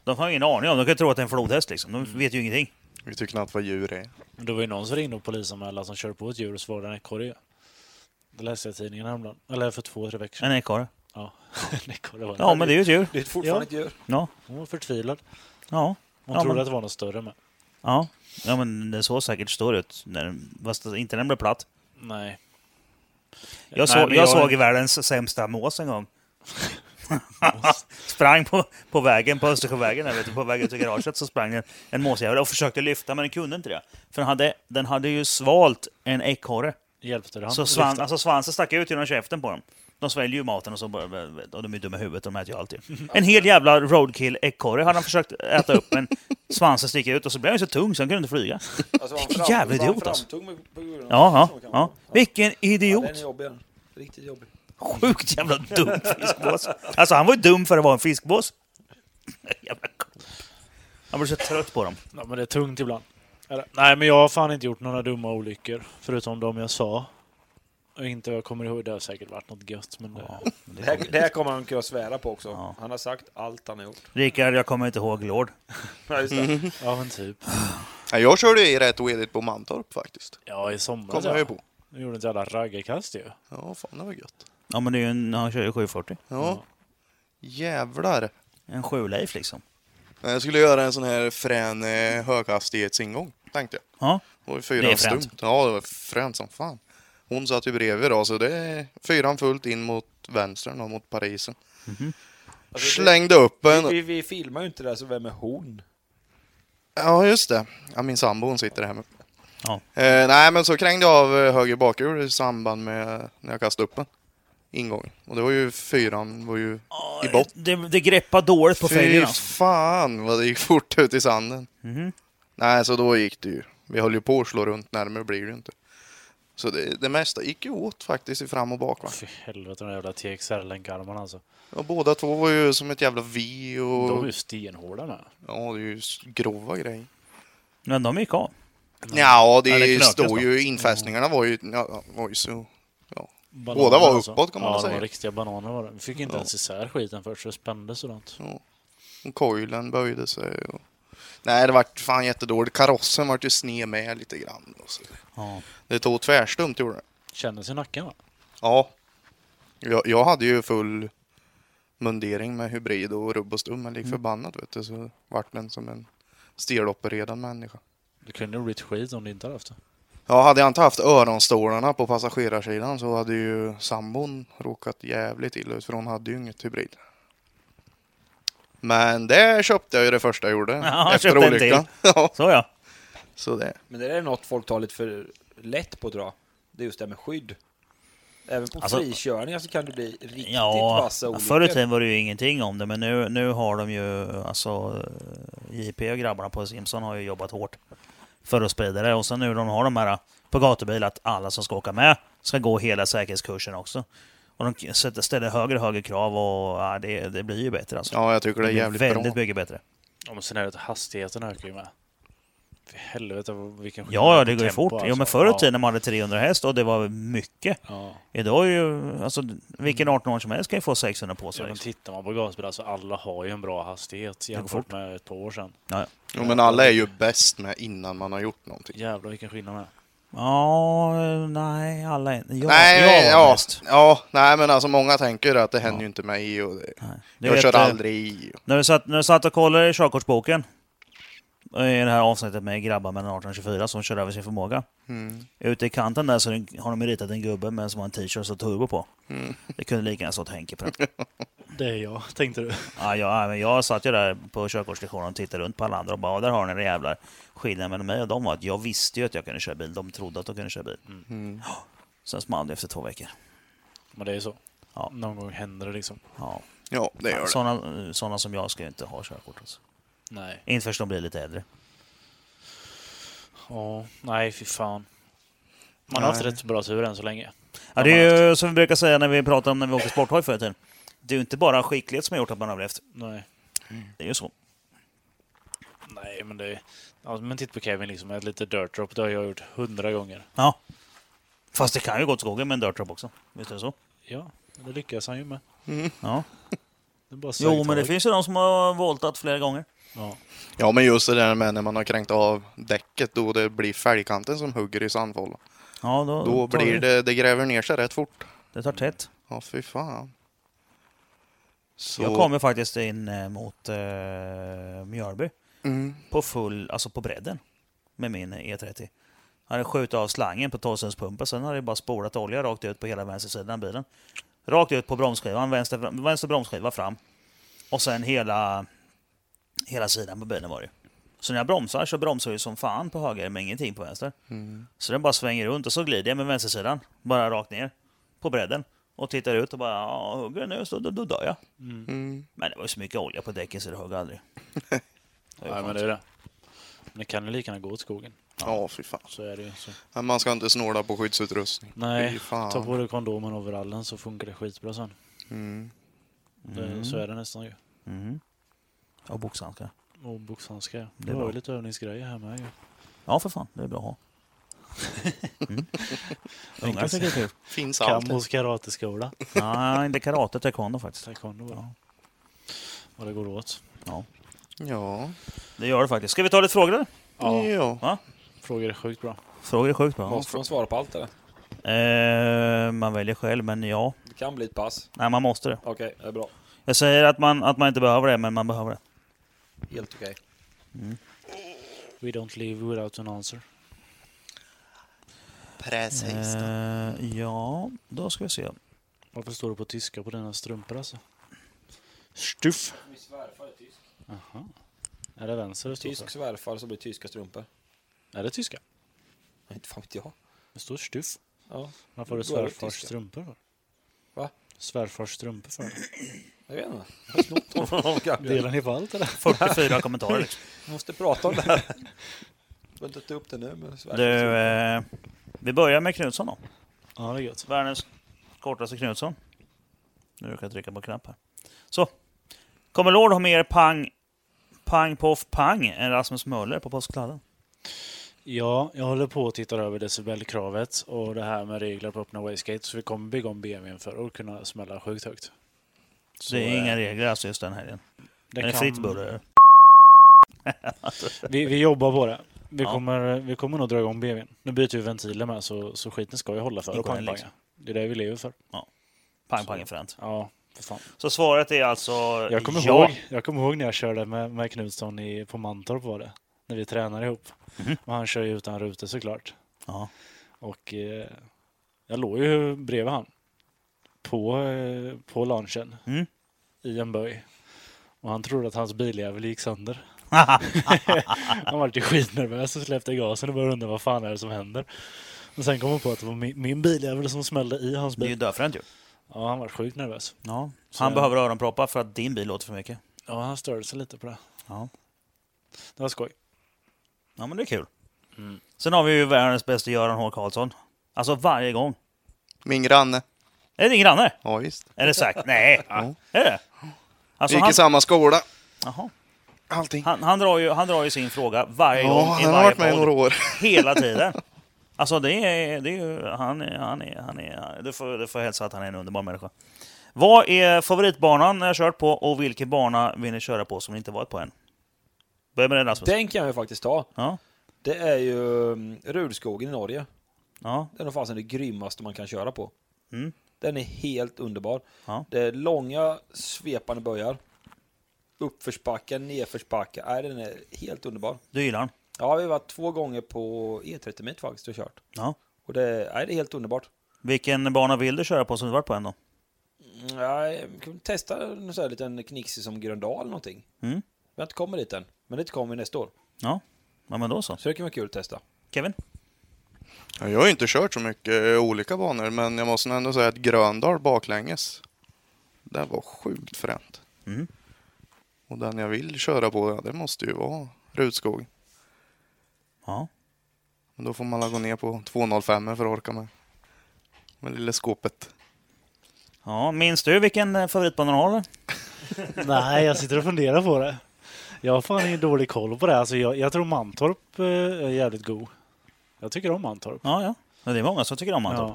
A: De har ingen aning om, de kan ju tro att det är en flodhäst liksom. De vet ju ingenting.
D: Vi tycker knappt vad djur är.
B: Men det var ju någon som ringde och polisanmälde som körde på ett djur och svarade en ekorre ju. Det läste jag i tidningen häromdagen. Eller för två, tre veckor sedan.
A: En ekorre.
B: Ja, en ekorre var det.
A: Ja, men det är ju ett djur.
C: Det är fortfarande ett djur.
A: Ja,
B: Hon var förtvivlad.
A: ja.
B: Hon
A: Ja,
B: trodde
A: men-
B: att det var något större med.
A: Ja, ja men det såg säkert stor ut. När, den- fast inte när den blev platt.
B: Nej.
A: Jag, såg, jag, såg världens sämsta mås en gång. sprang på, på vägen, på Östersjövägen, där, vet du, på vägen till garaget, så sprang en, en måsjävel och försökte lyfta, men den kunde inte det. För den hade, den hade ju svalt en ekorre.
B: Hjälpte det han?
A: Så svan, alltså svansen stack ut genom käften på dem. De sväljer ju maten och så bara, och de är dumma i huvudet, de äter ju alltid. En hel jävla roadkill-ekorre hade han försökt äta upp, men svansen stick ut och så blev han ju så tung så han kunde inte flyga.
C: Alltså, var han
A: Vilken
C: fram-
A: jävla
C: var han
A: idiot, alltså.
C: framtung med- på grund av-
A: Ja,
C: så
A: ja,
C: kan man-
A: ja. Vilken
C: Ja, den är
A: idiot!
C: jobbig. den. Riktigt jobbig.
A: Sjukt jävla dum fiskbås. Alltså han var ju dum för att vara en fiskbås. Jävla ko- Han blev så trött på dem.
B: Ja, men det är tungt ibland. Eller, nej, men jag har fan inte gjort några dumma olyckor. Förutom de jag sa. Och inte vad jag kommer ihåg. Det har säkert varit något gött. Men det,
A: Ja, men
C: Det
A: det
C: här, det här kommer han kunna svära på också.
A: Ja.
C: Han har sagt allt han har gjort.
A: Rickard, jag kommer inte ihåg Lord.
C: Ja, just det.
B: ja, men typ.
D: Ja, jag körde ju i rätt oedigt på Mantorp faktiskt.
B: Ja, i somras
D: Kommer jag ju
B: ja.
D: på.
B: Jag gjorde ett jävla raggarkast ju.
D: Ja, fan det var gött.
A: Ja, men det är ju en, han kör ju 740.
D: Ja. Jävlar.
A: En 7 liksom.
D: Jag skulle göra en sån här frän eh, höghastighetsingång, tänkte jag.
A: Ja,
D: Det var ju
A: Det är
D: fyran
A: fränt.
D: stumt. Ja, det var fränt som fan. Hon satt ju bredvid då, så det är fyran fullt in mot vänstern och mot Parisen.
A: Mhm.
C: Alltså, det
D: Slängde upp en.
C: vi, vi, vi filmar ju inte det här, så vem är hon?
D: Ja, just det. Ja, min sambo hon sitter hemma.
A: Ja.
D: Eh, nej, men så krängde jag av eh, höger bakhjul i samband med när jag kastade upp den. Ingången. Och det var ju fyran, var ju i botten.
A: det, det greppar dåligt på
D: Fy
A: fälgarna.
D: fan vad det gick fort ut i sanden.
A: Mhm.
D: Nej, så då gick det ju. Vi höll ju på att slå runt, närmare blir det ju inte. Så det, det mesta gick ju åt faktiskt i fram och bakvagn.
B: Fy helvete, de där jävla TXR-länkarmarna alltså.
D: Och båda två var ju som ett jävla vi
B: De är
D: och...
B: ju stenhårda med.
D: Ja, det är ju s- grova grejer.
A: Men de gick av.
D: Ja, det,
A: Ja, det knökas
D: stod
A: då.
D: ju... Infästningarna var ju... Ja, var ju så...
B: Bananer, alltså.
D: Båda var uppåt, kan man
B: ja,
D: säga.
B: de var riktiga bananer var det. Vi fick inte
D: Ja.
B: ens isär skiten först, så det spändes och sånt.
D: Och coilen böjde sig och... Nej, det vart fan jättedåligt. Karossen vart ju sned med lite grann. Och så.
A: Ja.
D: Det tog tvärstumt gjorde det.
B: Kändes i nacken va?
D: Ja. Jag, jag hade ju full mundering med hybrid och rubb och stum, men lik
A: Mm.
D: förbannat vet du, så vart den som en stelopererad människa.
B: Det kunde ju blivit skit om du inte hade haft det.
D: Ja, hade jag inte haft öronstolarna på passagerarsidan så hade ju sambon råkat jävligt illa ut, för hon hade ju inget hybrid. Men det köpte jag ju det första jag gjorde
A: Ja,
D: efter
A: köpte en till.
D: olyckan. Ja,
A: Så ja.
D: så det.
C: Men det där är något folk tar lite för lätt på tror jag. Det är just det här med skydd. Även på
A: Alltså-
C: frikörningar så kan det bli riktigt
A: Ja,
C: vassa olyckor.
A: förr i tiden var det ju ingenting om det, men nu, nu har de ju, alltså eh, JP och grabbarna på Simpson har ju jobbat hårt för att sprida det. Och sen nu de har de här på gatubil, att alla som ska åka med ska gå hela säkerhetskursen också. Och de k- sätter- ställer högre och högre krav och ja, det, det blir ju bättre alltså.
D: Ja, jag tycker det är
A: blir
D: jävligt
A: väldigt
D: bra.
A: mycket bättre.
B: Ja, men sen är det att hastigheten ökar ju med. För helvete vad- vilken
A: Ja, ja, det
B: på
A: går ju
B: tempo,
A: fort.
B: alltså.
A: Jo, men förr i
B: Ja.
A: tiden när man hade 300 häst och det var mycket.
B: Ja.
A: Idag är ju, alltså vilken 18-åring som helst kan ju få 600 på sig.
B: Ja, men
A: liksom.
B: tittar man på gasbil, alltså alla har ju en bra hastighet jämfört
A: fort.
B: med ett par år sedan.
D: Jo, men alla är ju bäst med innan man har gjort någonting.
B: Jävlar vilken skillnad det är.
A: Ja, nej, alla är... Jag,
D: nej,
A: jag var
D: ja,
A: bäst.
D: ja, nej, men alltså många tänker att det händer ju inte mig och det,
A: Du
D: jag
A: vet,
D: kör
A: eh,
D: aldrig i.
A: När du, satt, när du satt och kollade i körkortsboken eh, i det här avsnittet med grabbar mellan 18 och 24 som kör över sin förmåga.
D: Mm.
A: Ute i kanten där så är det- har de ju ritat en gubbe med som har en t-shirt och så turbo på.
D: Mm.
A: Det kunde lika gärna stått Henke på den.
B: Det är jag, tänkte du.
A: ja, jag, ja, men jag satt ju där på körkortslektionen och tittade runt på alla andra och bara "Ja, där har ni det jävlar. Skillnaden mellan mig och dem var att jag visste ju att jag kunde köra bil. De trodde att de kunde köra bil.
D: Mm.
A: Sen small det efter två veckor.
B: Men det är ju så.
A: Ja.
B: Någon gång händer det liksom.
A: Ja.
D: Ja, det gör det.
A: Sådana, sådana som jag ska ju inte ha körkort. Alltså.
B: Nej.
A: Inte förrän de blir lite äldre.
B: Ja, nej fy fan. Man
D: Nej.
B: har haft rätt bra tur än så länge.
A: Ja, det är ju som vi brukar säga när vi pratar om när vi åkte sporthoj förr i tiden. Det är ju inte bara skicklighet som har gjort att man har överlevt.
B: Nej.
A: Det är ju så.
B: Nej, men det är... Ja, men titta på Kevin liksom, ett litet dirt drop, det har jag gjort hundra gånger.
A: Ja. Fast det kan ju gå åt skogen med en dirtrap också. Visst är det så?
B: Ja, men det lyckas han ju med.
A: Ja.
B: Det är bara
A: Jo,
B: sökt
A: men det
B: tag.
A: finns ju de som har voltat flera gånger.
B: Ja.
D: Ja, men just det där med när man har kränkt av däcket då det blir fälgkanten som hugger i sandfållan.
A: Ja, då,
D: Då
A: tar
D: blir det, det gräver ner sig rätt fort.
A: Det tar tätt.
D: Ja, fy fan. Så,
A: Jag kom ju faktiskt in eh, mot eh, Mjölby
D: Mm,
A: på full, alltså på bredden med min E30. Jag hade skjutit av slangen på torrströmspumpen, sen hade jag bara spolat olja rakt ut på hela vänstersidan av bilen. Rakt ut på bromsskivan, vänster, vänster bromsskiva fram. Och sen hela, hela sidan på bilen var det ju. Så när jag bromsar så bromsar jag ju som fan på höger men ingenting på vänster.
D: mm,
A: Så den bara svänger runt och så glider jag med vänstersidan, bara rakt ner på bredden. Och tittar ut och bara, ja, hugger jag nu så då, då dör jag.
D: mm.
A: Men det var ju så mycket olja på däcken så det högg aldrig. Det var ju
B: Nej, men
A: skönt.
B: det är det. Men det kan ju lika gärna gå åt skogen.
D: Ja, fy fan.
B: Så är det ju. Så.
D: Men man ska inte snåla på skyddsutrustning. Fy
B: Nej,
D: fan.
B: ta på dig kondomen och overallen så funkar det skitbra sen.
D: Mm.
B: Det, Eh, så är det nästan ju.
A: Mm. Och boxhandskar.
B: Och boxhandskar.
A: är
B: Det var
A: bra.
B: ju lite övningsgrejer här med ju.
A: Ja, för fan. Det är bra att ha. Mm. Ungar tycker det är kul.
D: Finns alltid.
B: Kambos karateskola.
A: Nej, inte karate, taekwondo faktiskt.
B: Taekwondo bara. Vad det går åt.
A: Ja,
D: Ja.
A: det gör det faktiskt. Ska vi ta lite frågor? eller?
B: Ja.
D: ja.
B: Frågor är sjukt bra.
A: Frågor är sjukt bra.
C: Måste man svara på allt eller?
A: Eh, man väljer själv, men ja.
C: Det kan bli ett pass.
A: Nej, man måste det.
C: Okej, det är bra.
A: Jag säger att man, att man inte behöver det, men man behöver det.
C: Helt okej.
B: We don't live without an answer.
D: Precis.
A: Eh, ja, då ska vi se.
B: Varför står det på tyska på dina strumpor alltså? Stuff.
C: Min svärfar är tysk.
B: Aha. Är det vänster det står
C: Tysk
B: för?
C: svärfar så blir tyska strumpor.
B: Är det tyska?
C: Nej, inte fan vet jag.
B: Det står stuff.
C: Ja,
B: Varför har du
C: Då är det
B: svärfars
C: tyska.
B: strumpor för?
C: Va?
B: Svärfars strumpor för?
C: jag vet inte. Jag har snott dem från någon kanske.
B: Delar ni på allt eller?
A: 44 kommentarer. Liksom.
C: Jag måste prata om det här. Jag behöver inte ta upp det nu men svärfar.
A: Du, eh, vi börjar med Knutsson då.
B: Ja, det är gött.
A: Världens kortaste Knutsson. Nu råkar jag trycka på knapp här. Så. Kommer Lord ha mer pang, pang poff pang än Rasmus Möller på påskkladden?
B: Ja, jag håller på och tittar över decibelkravet och det här med regler på öppna wayskate så vi kommer bygga om BMWn för att kunna smälla sjukt högt. Så,
A: Det är
B: eh,
A: inga regler alltså just den helgen.
B: det
A: är det
B: kan-
A: fritt buller?
B: Vi, vi jobbar på det. Vi,
A: Ja.
B: kommer, vi kommer nog dra igång BMWn. Nu byter vi ventiler med så, så skiten ska ju hålla för
A: Då
B: och
A: kommer den
B: pangpanga. Det är det vi lever för.
A: Pang pang är fränt.
B: Ja, för fan.
A: Så svaret är alltså
B: Jag kommer,
A: ja.
B: ihåg, jag kommer ihåg när jag körde med, med Knutsson i, på Mantorp var det. När vi tränade ihop.
A: Mhm.
B: Och han kör ju utan rutor såklart.
A: Ja.
B: Och eh, jag låg ju bredvid han. På, eh, på lunchen.
A: Mm.
B: I en böj. Och han trodde att hans biljävel gick sönder. han var ju skitnervös och släppte gasen och började undra vad fan är det som händer. Och sen kom han på att det var min, min biljävel som smällde i hans
A: Det är ju
B: bil.
A: dödfränt ju.
B: Ja, han var sjukt nervös.
A: Ja.
B: Så-
A: Han behöver öronproppar för att din bil låter för mycket.
B: Ja, han störde sig lite på det.
A: Ja.
B: Det var skoj.
A: Ja, men det är kul.
B: Mm.
A: Sen har vi ju världens bästa Göran H. Karlsson. Alltså varje gång.
D: Min granne.
A: Är det din granne?
D: Ja, visst.
A: Är det säkert? Nej.
D: Ja.
A: Är det?
D: Vi
A: Alltså,
D: gick
A: han,
D: i samma skola.
A: Jaha.
D: Allting.
A: han, han, drar ju, han drar ju sin fråga varje gång
D: Ja,
A: i
D: han har
A: varje
D: varit med i
A: podd.
D: några år.
A: Hela tiden. Alltså det är, det är ju, han är, han är, han är, du får, du får hälsa att han är en underbar människa. Vad är favoritbanan ni har kört på och vilken bana vill ni köra på som ni inte varit på än? Börja med den Rasmus.
C: Den kan jag ju faktiskt ta.
A: Ja.
C: Det är ju mm, Rudskogen i Norge.
A: Ja.
C: Den är nog fasen det grymmaste man kan köra på.
A: Mm.
C: Den är helt underbar.
A: Ja.
C: Det är långa svepande böjar. Uppförsbackar, nedförsbackar. Nej, den är helt underbar.
A: Du gillar den?
C: Ja, vi har varit två gånger på E30 mitt faktiskt och kört.
A: Ja.
C: Och det, nej, det är helt underbart.
A: Vilken bana vill du köra på som du varit på än då?
C: Mm, Nej, vi kan testa en sån här liten knixig som Gröndal eller någonting.
A: Mm.
C: Vi har inte kommit dit än, men det kommer vi nästa år.
A: Ja. ja, men då så.
C: Så det kan vara kul att testa.
A: Kevin?
D: Ja, Jag har ju inte kört så mycket eh, olika banor, men jag måste ändå säga att Gröndal baklänges, det var sjukt fränt.
A: Mm.
D: Och den jag vill köra på, ja, det måste ju vara Rudskog.
A: Ja.
D: Men då får man la gå ner på 2.05 för att orka med. Med lilla skåpet.
A: ja. Minns du vilken eh, favoritbana du har? eller?
B: Nej, jag sitter och funderar på det. Jag har fan ingen dålig koll på det. Alltså, jag, jag tror Mantorp eh, är jävligt god. Jag tycker om Mantorp.
A: Ja, ja. Men Det är många som tycker om Mantorp.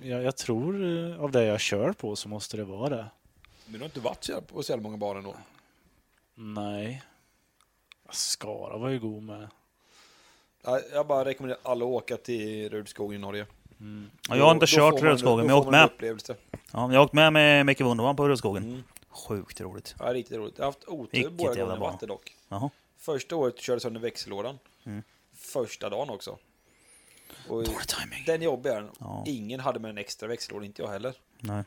B: Ja. Jag, jag tror eh, av det jag kör på så måste det vara det.
C: Men du har inte varit så jävla- på så jävla många banor då.
B: Nej. Skara var ju god med.
C: Jag bara rekommenderar alla att åka till Rudskogen i Norge.
A: Ja. Jag har inte
C: Då- då får
A: kört
C: man-
A: Rödskogen,
C: då
A: men jag har
C: får
A: åkt
C: man en
A: med.
C: Upplevelse.
A: Ja, jag har åkt med med Micke Wunderman på Rödskogen.
C: Mm.
A: Sjukt roligt.
C: Ja, riktigt roligt. Jag har haft otur
A: Vilket
C: båda
A: jävla
C: gångerna
A: bra.
C: vatten dock.
A: Jaha.
C: Första året körde jag sönder växellådan.
A: Mm.
C: Första dagen också. Och
A: Dålig timing.
C: den jobbiga den.
A: Ja.
C: Ingen hade med en extra växellåda, inte jag heller.
A: Nej.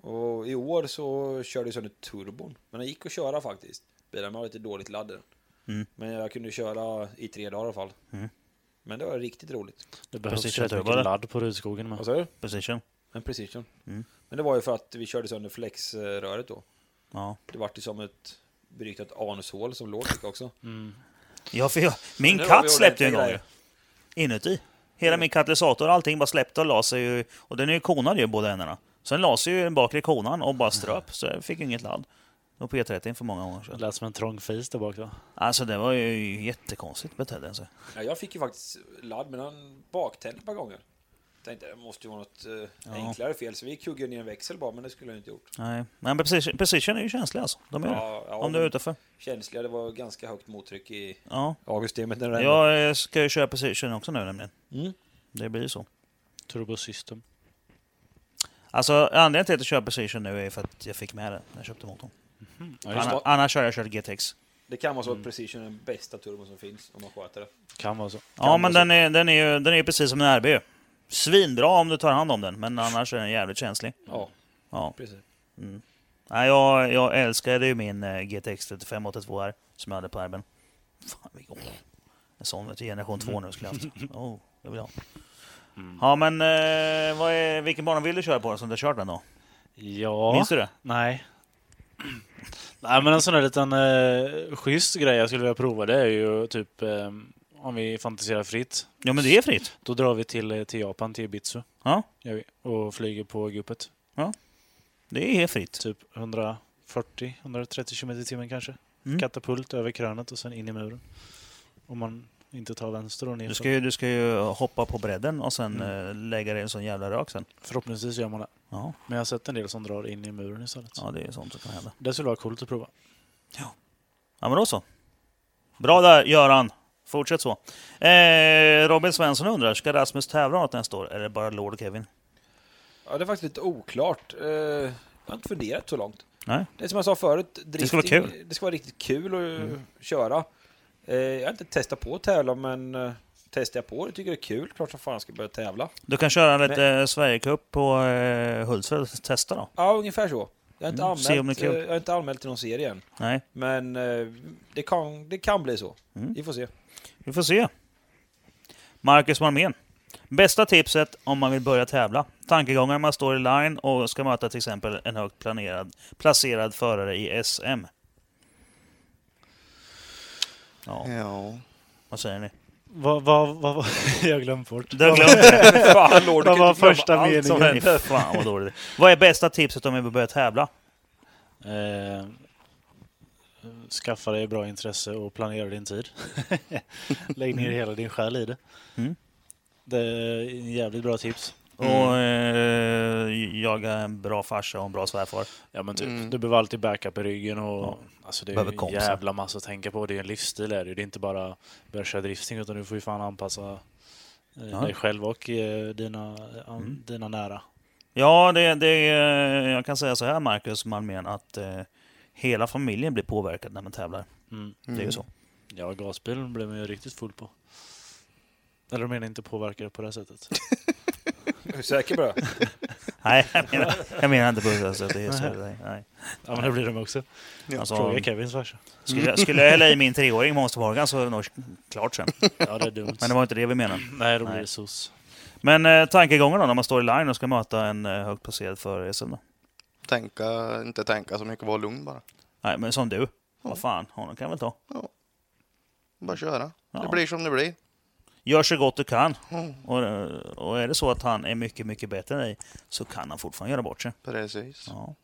C: Och i år så körde jag sönder turbon. Men den gick att köra faktiskt. Bilen var lite dåligt laddad.
A: Mm.
C: Men jag kunde köra i tre dagar i alla fall.
A: Mm.
C: Men det var riktigt roligt.
B: Det behövs
A: Precision
B: rätt
A: Turbo, eller?
B: mycket ladd på Rudskogen med.
C: Vad sa du?
A: Precision.
C: En precision.
A: Mm.
C: Men det var ju för att vi körde sönder flexröret då.
A: Ja.
C: Det vart ju som ett beryktat anushål som låg tycker jag också.
B: Mm.
A: Ja, för jag, min
C: Nu har vi
A: katt
C: ordentliga
A: släppte ju en gång ju.
C: grejer. Mm.
A: Inuti. Hela min katalysator, allting bara släppte och la sig ju.
C: Mm.
A: Och den är ju konad ju, båda ändarna. Sen la sig ju den bakre konan och bara ströp, så jag fick ju inget ladd. Det var på E30 för många gånger
B: Det
A: sedan.
B: lät som en trång fis där bak då.
A: Alltså det var ju jättekonstigt betedde den sig.
C: Ja, jag fick ju faktiskt ladd mellan baktänder ett par gånger. Tänkte det måste ju vara något eh, enklare fel, så vi kuggade ner en växel bara, men det skulle jag inte gjort.
A: Nej, men precision, precision är ju känslig alltså. De är det.
C: Ja, ja,
A: Om du är
C: men
A: utanför.
C: Känsliga, det var ganska högt mottryck i
A: Ja.
C: A-systemet när det regnade.
A: Jag eh, ska ju köra precision också nu nämligen.
C: Mm.
A: Det blir ju så.
B: Turbo system.
A: Alltså anledningen till att jag kör precision nu är för att jag fick med det när jag köpte motorn.
B: Ja, just
A: Anna,
B: det.
A: annars har jag kört GTX.
C: Det kan vara så att Precision är den bästa turbon som finns om man sköter det.
B: Kan vara så.
A: Ja, men den är, den, är ju, den är ju precis som en RB. Svinbra om du tar hand om den, men annars är den jävligt känslig.
C: Ja,
A: Ja.
C: precis.
A: Nej, jag, jag älskade ju min eh, GTX 3582R som jag hade på RBn. Fan, vilken... åh, En sån vet du, generation 2 nu skulle jag haft.
B: Mm.
A: Oh, det vill jag ha. Ja, men eh, vad är, vilken bana vill du köra på som du har kört den då?
B: Ja.
A: Minns du det?
B: Nej. Nej men en sån här liten eh, schysst grej jag skulle vilja prova det är ju typ eh, om vi fantiserar fritt.
A: Ja, men det är fritt.
B: Då drar vi till, eh, till Japan, till Ibiza.
A: Ja,
B: Gör vi, och flyger på guppet.
A: det är helt fritt.
B: Typ 140-130 km i timmen kanske.
A: Mm.
B: Katapult över krönet och sen in i muren. Om man inte tar vänster och ner.
A: Du ska ju, du ska ju hoppa på bredden och sen eh, lägga dig i en sån jävla rök sen.
B: Förhoppningsvis gör man det.
A: Ja,
B: Men jag har sett en del som drar in i muren istället.
A: ja det är sånt som kan hända.
B: Det skulle vara coolt att prova.
A: Ja, men då så. Bra där, Göran. Fortsätt så. Eh, Robin Svensson undrar, ska Rasmus tävla något nästa år? Eller bara Lord och Kevin?
C: Ja, det är faktiskt lite oklart. Eh, jag har inte funderat så långt.
A: Nej.
C: Det är som jag sa förut.
A: ska vara
C: drifting-
A: kul. Mm.
C: Det ska vara riktigt kul att eh, köra. Eh, jag har inte testat på att tävla, men eh, testar jag på det tycker jag det är kul, klart som fan ska jag börja tävla.
A: Du kan köra lite eh, Sverigecup på eh, Hultsfred och testa då.
C: Ja, ungefär så. Jag har inte,
A: Mm, se om
C: anmält,
A: det är kul.
C: eh, jag har inte anmält till någon serie än,
A: Nej,
C: men eh, det, kan, det kan bli så.
A: Mm.
C: Vi får se.
A: vi får se. Marcus Malmén. Bästa tipset om man vill börja tävla. Tankegångar man står i line och ska möta till exempel en högt planerad, placerad förare i SM. Ja,
D: Ja.
A: vad säger ni?
B: Vad vad vad vad- jag glömde bort.
A: Du har glömt det.
C: fan,
B: Vad
C: Lord, du kan
B: var
C: inte glömma
B: första
C: allt
B: meningen?
C: som
A: Fy
C: händer.
A: Fan vad dåligt. Vad är bästa tipset om vi vill börja tävla?
B: Eh, skaffa dig bra intresse och planera din tid. Lägg ner hela din själ i det.
A: Mm.
B: Det är en jävligt bra tips.
A: Och eh, jaga en bra farsa och en bra svärfar.
B: Ja, men typ,
D: Mm.
B: Du behöver alltid backup i ryggen. Och, alltså, det är
A: Behöver
B: ju en
A: kompisar.
B: jävla massa att tänka på. Det är en livsstil. Är det. ju. det är inte bara börja köra drifting utan du får ju fan anpassa eh,
A: Ja.
B: dig själv och eh, dina, an- dina nära.
A: Ja, det, det, eh, jag kan säga så här Marcus Malmén att eh, hela familjen blir påverkad när man tävlar.
B: Mm.
A: Det är ju så.
B: Ja, gasbilen blev man ju riktigt full på. Eller de menar inte påverkade på det här sättet.
C: Är du säker på det?
A: Nej, jag menar, jag menar inte på det sättet. Det är så, nej, nej.
B: Ja, men det blir de också.
A: Alltså,
B: Fråga Kevins farsa.
A: skulle, jag- skulle jag hälla i min treåring Monster Morgan så är det nog klart sen.
B: Ja, det är dumt.
A: Men det var inte det vi menade.
B: Nej, då blir
A: Nej.
B: det SOS.
A: Men eh, tankegången då, när man står i line och ska möta en eh, högt placerad förare i SM då?
D: Tänka, inte tänka så mycket, vara lugn bara.
A: Nej, men som du. Vad fan, honom kan jag väl ta.
D: Bara köra.
A: Ja.
D: Det blir som det blir.
A: Gör så gott du kan.
D: Mm.
A: Och, eh, och är det så att han är mycket, mycket bättre än dig så kan han fortfarande göra bort sig.
D: Precis.
A: Ja.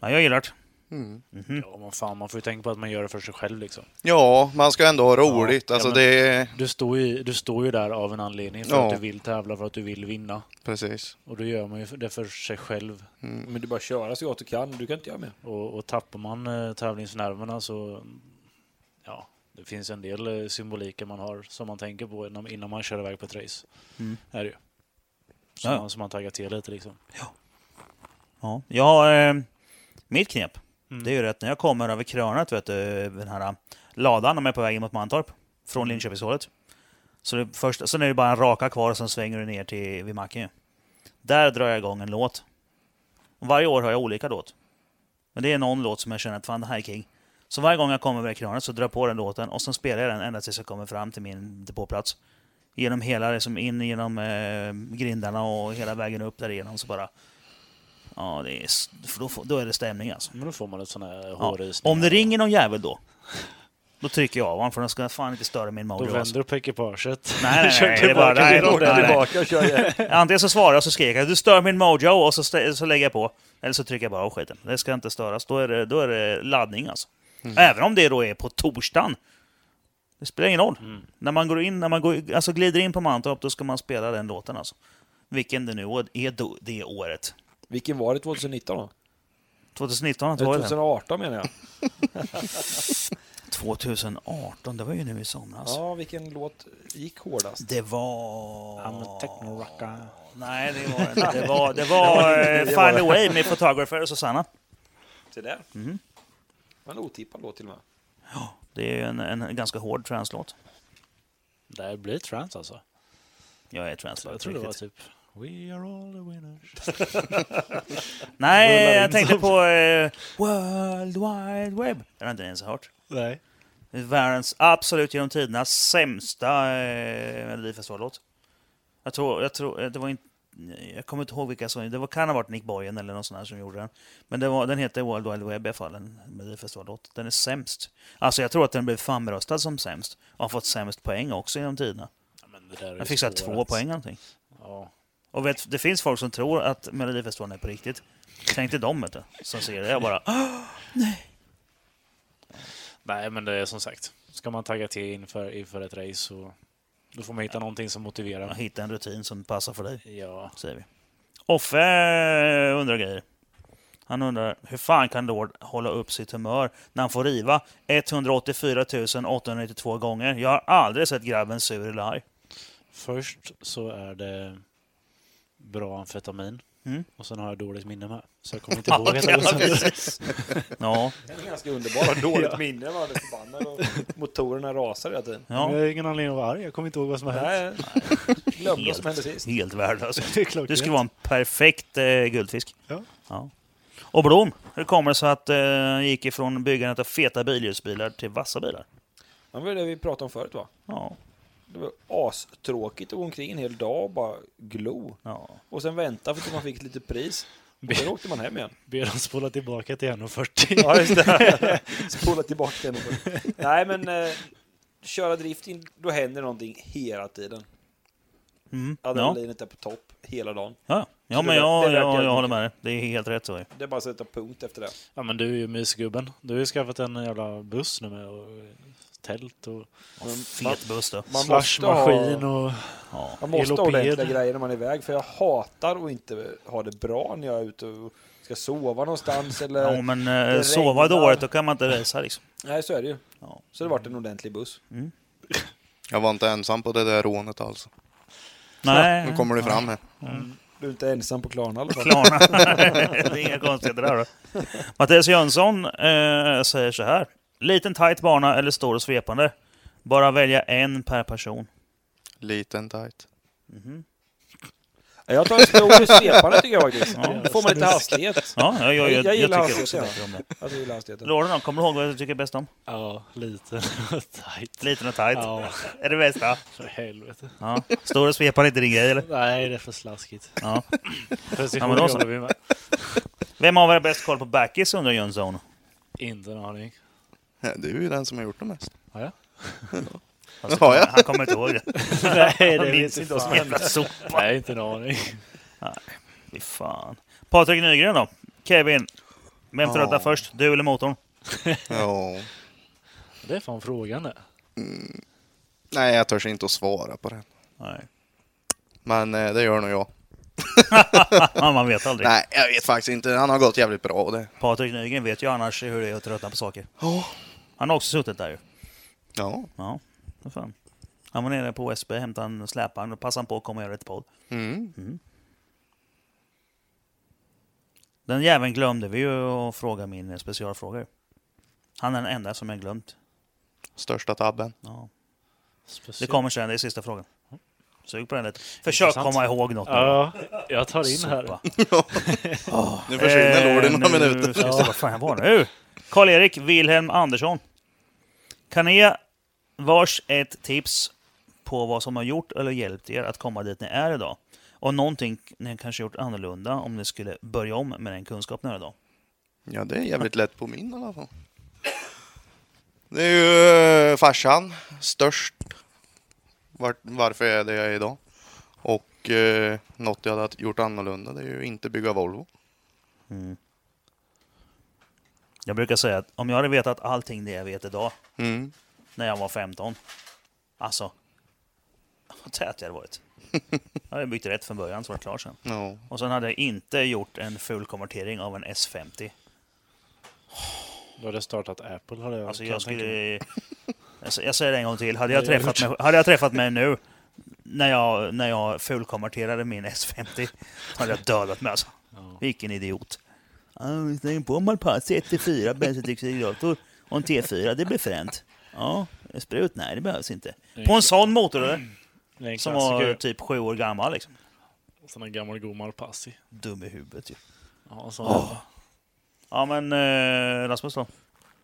A: Ja, jag gillar det.
D: Mm.
A: Mm-hmm.
B: Ja, men fan, man får ju tänka på att man gör det för sig själv liksom.
D: Ja, man ska ändå ha roligt.
B: Ja,
D: Alltså
B: ja, men-
D: det är...
B: Du står ju, du står ju där av en anledning, för
D: Ja.
B: att du vill tävla, för att du vill vinna.
D: Precis. Mm.
B: Och då gör man ju det för sig själv.
C: Men du bara köra så gott du kan, du kan inte göra mer.
B: Och, och tappar man eh, tävlingsnerverna så... Ja, det finns en del eh, symboliker man har som man tänker på innan, innan man kör iväg på ett race.
A: Mm.
B: Är det ju. Som,
A: Ja.
B: man, som man taggar till lite liksom.
A: Ja. Jag har, eh, mitt knep,
B: Mm.
A: det är ju rätt när jag kommer över krönet, vet du, den här eh, ladan om jag är på väg in mot Mantorp, från Linköpingshållet. Så det först, sen är det bara en raka kvar och sen svänger du ner till vid macken ju. Där drar jag igång en låt. Och Varje år har jag olika låt. Men det är någon låt som jag känner att fan, det här är king. Så varje gång jag kommer över krönet så drar jag på den låten och sen spelar jag den ända tills jag kommer fram till min depåplats. Genom hela, liksom in genom eh, grindarna och hela vägen upp därigenom så bara... Ja, det är, s- för då, får- då är det stämning alltså.
B: Men då får man ett sån här
A: Ja.
B: hårrysning.
A: Om det ringer någon jävel då, Då trycker jag av honom för den ska fan inte störa min
B: Då
A: mojo.
B: vänder
A: Alltså.
B: du på ekipaget.
A: Nej, nej,
B: Kör
A: nej. Det är bara,
B: tillbaka
A: nej,
B: till
A: nej,
B: dem.
A: nej, nej.
C: tillbaka och kör igen.
A: Antingen så svarar jag och så skriker jag du stör min mojo och så, stä- så lägger jag på. Eller så trycker jag bara av skiten. Det ska inte störas. Då är det, då är det laddning alltså.
B: Mm.
A: Även om det då är på torsdagen. Det spelar ingen roll.
B: Mm.
A: När man, går in, när man går, alltså glider in på Mantorp då ska man spela den låten alltså. Vilken det nu är då, det året.
C: Vilken var det 2019 då?
A: 2019 att det
C: Eller
A: var det.
C: 2018 menar jag.
A: 2018, det var ju nu i somras.
C: Ja, vilken låt gick hårdast?
A: Det var...
B: I'm a techno rocker.
A: Nej, det var inte. Det var, det var eh, Find a Way med Photographer och Susanna.
C: Se där.
A: Mhm.
C: En otippad låt till och med.
A: Det är ju en, en ganska hård translåt.
B: Det här blir trans alltså.
A: Jag Alltså, är translåt.
B: Jag tror det var typ We are all the winners.
A: Nej,
B: Rullar
A: jag
B: in
A: tänkte
B: som-
A: på eh, World Wide Web. Den har inte ens hört.
B: Nej.
A: Världens absolut genom tiderna sämsta eh, Melodifestivallåt. Jag tror, jag tror, eh, det var inte, jag kommer inte ihåg vilka som, det var, kan ha varit Nick Boyen eller någon sån här som gjorde den. Men det var, den heter World Wide Web i alla fall, en Melodifestivallåt. Den är sämst. Alltså jag tror att den blev famröstad som sämst. Och har fått sämst poäng också genom tiderna.
B: Ja, men det där är ju
A: Den fick så här
B: svårt.
A: två poäng eller någonting.
B: Ja.
A: Och vet, det finns folk som tror att Melodifestivalen är på riktigt. Tänk dig dem vet du, som ser det. Jag bara, "Ah,
B: Nej, men det är som sagt. Ska man tagga till inför, inför ett race så då får man hitta någonting som
A: jag
B: motiverar.
A: hittar en rutin som passar för dig.
B: Ja.
A: säger vi. Offe eh, undrar grejer. Han undrar hur fan kan Lord hålla upp sitt humör när han får riva 184 892 gånger? Jag har aldrig sett grabben sur eller arg.
B: Först så är det bra amfetamin.
A: Mm.
B: Och sen har jag dåligt minne med. Så jag kommer inte ihåg att det var så.
A: Ja,
C: Den är ganska underbar. Dåligt minne. Man är förbannad och motorerna rasar hela tiden.
B: Jag
A: ja.
B: har ingen anledning att vara arg. Jag kommer inte ihåg vad som har hänt.
C: Nej, glömde vad som hände sist.
A: Helt värdelös.
B: Det är klockrent.
A: Du skulle vara en perfekt eh, guldfisk.
B: Ja.
A: Ja. Och Blom, hur kommer det sig att eh, han gick ifrån byggandet av feta bilhjulsbilar till vassa bilar?
C: Ja, Det var det vi pratade om förut va?
A: Ja,
C: Det var astråkigt att gå omkring en hel dag och bara glo.
A: ja.
C: Och sen vänta för att man fick ett litet pris. Och sen åkte man hem igen.
B: Ber dem spola tillbaka till 1,40.
C: Ja, just det. Spola tillbaka den. Nej, men eh, köra drifting, då händer någonting hela tiden.
A: Mm. ja.
C: Adrenalinet är på topp hela dagen.
A: ja. ja
C: Så det
A: men
C: är
A: jag,
C: värt- det är värt
A: jag, jag
C: jävligt
A: håller med dig. Det är helt rätt så. ju.
C: Det är bara att sätta punkt efter det.
B: Ja, men du är ju mysgubben. Du har ju skaffat en jävla buss nu med och eh, tält och
C: Men man,
A: Fet buss du.
C: man måste ha,
B: slushmaskin och...
A: Ja.
C: man måste ha
B: eloped.
C: ordentliga grejer när man är iväg. För jag hatar att inte ha det bra när jag är ute och ska sova någonstans. Eller...
A: Ja, men eh,
C: det
A: sova
C: regnar.
A: dåligt, då kan man inte resa liksom.
C: Nej, så är det ju.
A: Ja.
C: Så det vart en ordentlig buss.
D: Jag var inte ensam på det där rånet alltså.
A: Nej.
D: Nu kommer det fram här.
C: Du är inte ensam på Klarna i alla fall.
A: Klarna. det är inga konstigheter där då. Mattias Jönsson eh, säger så här. Liten tight bana eller stor och svepande? Bara välja en per person. Mhm.
D: Liten tight.
C: Jag tar en stor svepare tycker jag faktiskt.
A: Ja.
C: Då får man lite hastighet.
A: Ja, jag, jag, jag,
C: Jag
A: jag,
C: gillar
A: tycker också
C: hastigheten,
A: bättre om det.
C: Alltså, jag gillar hastigheten.
A: Lorden då, kommer du ihåg vad du tycker bäst om?
B: Ja, lite tajt.
A: Liten och tight.
B: Ja,
A: Är det bästa?
B: för helvete.
A: Ja. Stor och svepande är inte din grej eller?
B: Nej, det är för slaskigt.
A: Ja.
B: Precision
A: Ja, men då så.
B: jobbar vi med.
A: Vem av er har bäst koll på backis undrar Jönsson.
B: Inte en aning.
D: Ja, Du är ju den som har gjort det mest.
A: Fast
D: Ja, ja.
A: Han kommer inte ihåg det.
B: Nej, det
A: Han
B: vet
A: minns inte
B: inte
A: vad
B: vad
A: som hände. Så
B: Nej, inte en aning.
A: Fy fan. Patrik Nygren då? Kevin, vem
D: Ja.
A: tröttnar först? Du eller motorn?
D: Ja.
B: Det är fan frågan det.
D: Nej, jag törs inte att svara på den.
A: Nej.
D: Men eh, det gör nog jag.
A: Ja, man vet aldrig.
D: Nej, jag vet faktiskt inte. Han har gått jävligt bra och det.
A: Patrik Nygren vet ju annars hur det är att tröttna på saker.
D: Ja.
A: Han har också suttit där ju.
D: Ja.
A: Ja, vad fan. Han var nere på OSB, hämtade en släpvagn och passade han på att komma och göra ett podd.
D: Mm.
A: Den jäveln glömde vi ju att fråga min specialfråga. ju. Han är den enda som jag glömt.
D: Största tabben.
A: Ja. Det
B: Speciellt.
A: kommer sen, det är sista frågan. Sug på den lite. Försök
B: Intressant.
A: komma ihåg något. nu.
B: Ja, jag tar in här.
A: Sopa.
D: Nu försvinner
A: Eh,
D: Lord i några
A: nu-
D: minuter.
A: Just det, vad fan jag var nu? Karl-Erik Wilhelm Andersson. Kan ni ge vars ett tips på vad som har gjort eller hjälpt er att komma dit ni är idag? Och någonting ni kanske gjort annorlunda om ni skulle börja om med den kunskapen ni har idag?
D: Ja, det är jävligt lätt på min i alla fall. Det är ju eh, farsan, störst. Vart, varför jag är det jag är idag. Och eh, något jag hade gjort annorlunda, det är ju inte bygga Volvo.
A: Jag brukar säga att om jag hade vetat allting det jag vet idag
D: Mm.
A: när jag var 15. Alltså, vad tät jag hade varit. Jag hade byggt rätt från början så var det klart sen.
D: Ja.
A: Och sen hade jag inte gjort en full konvertering av en S50.
B: Då hade jag startat Apple. Hade jag,
A: Alltså
B: kan
A: jag
B: tänka mig.
A: skulle... Jag sä- jag säger det en gång till. Hade jag
B: Det har jag
A: träffat mig, hade jag träffat mig nu när jag, när jag fullkonverterade min S50 hade jag dödat mig alltså. Vilken idiot. Ja, vi slänger på Malpazzi 1-4 bensindioxidrotor och en T4, det blir fränt. Ja, en sprut? Nej, det behövs inte. På en sån motor eller?
B: Det är en
A: Som
B: klassiker.
A: var typ sju år gammal liksom.
B: Sån här gammal god Malpassi.
A: Dum i huvudet ju.
B: Ja, sån
A: Ja men eh, Rasmus då?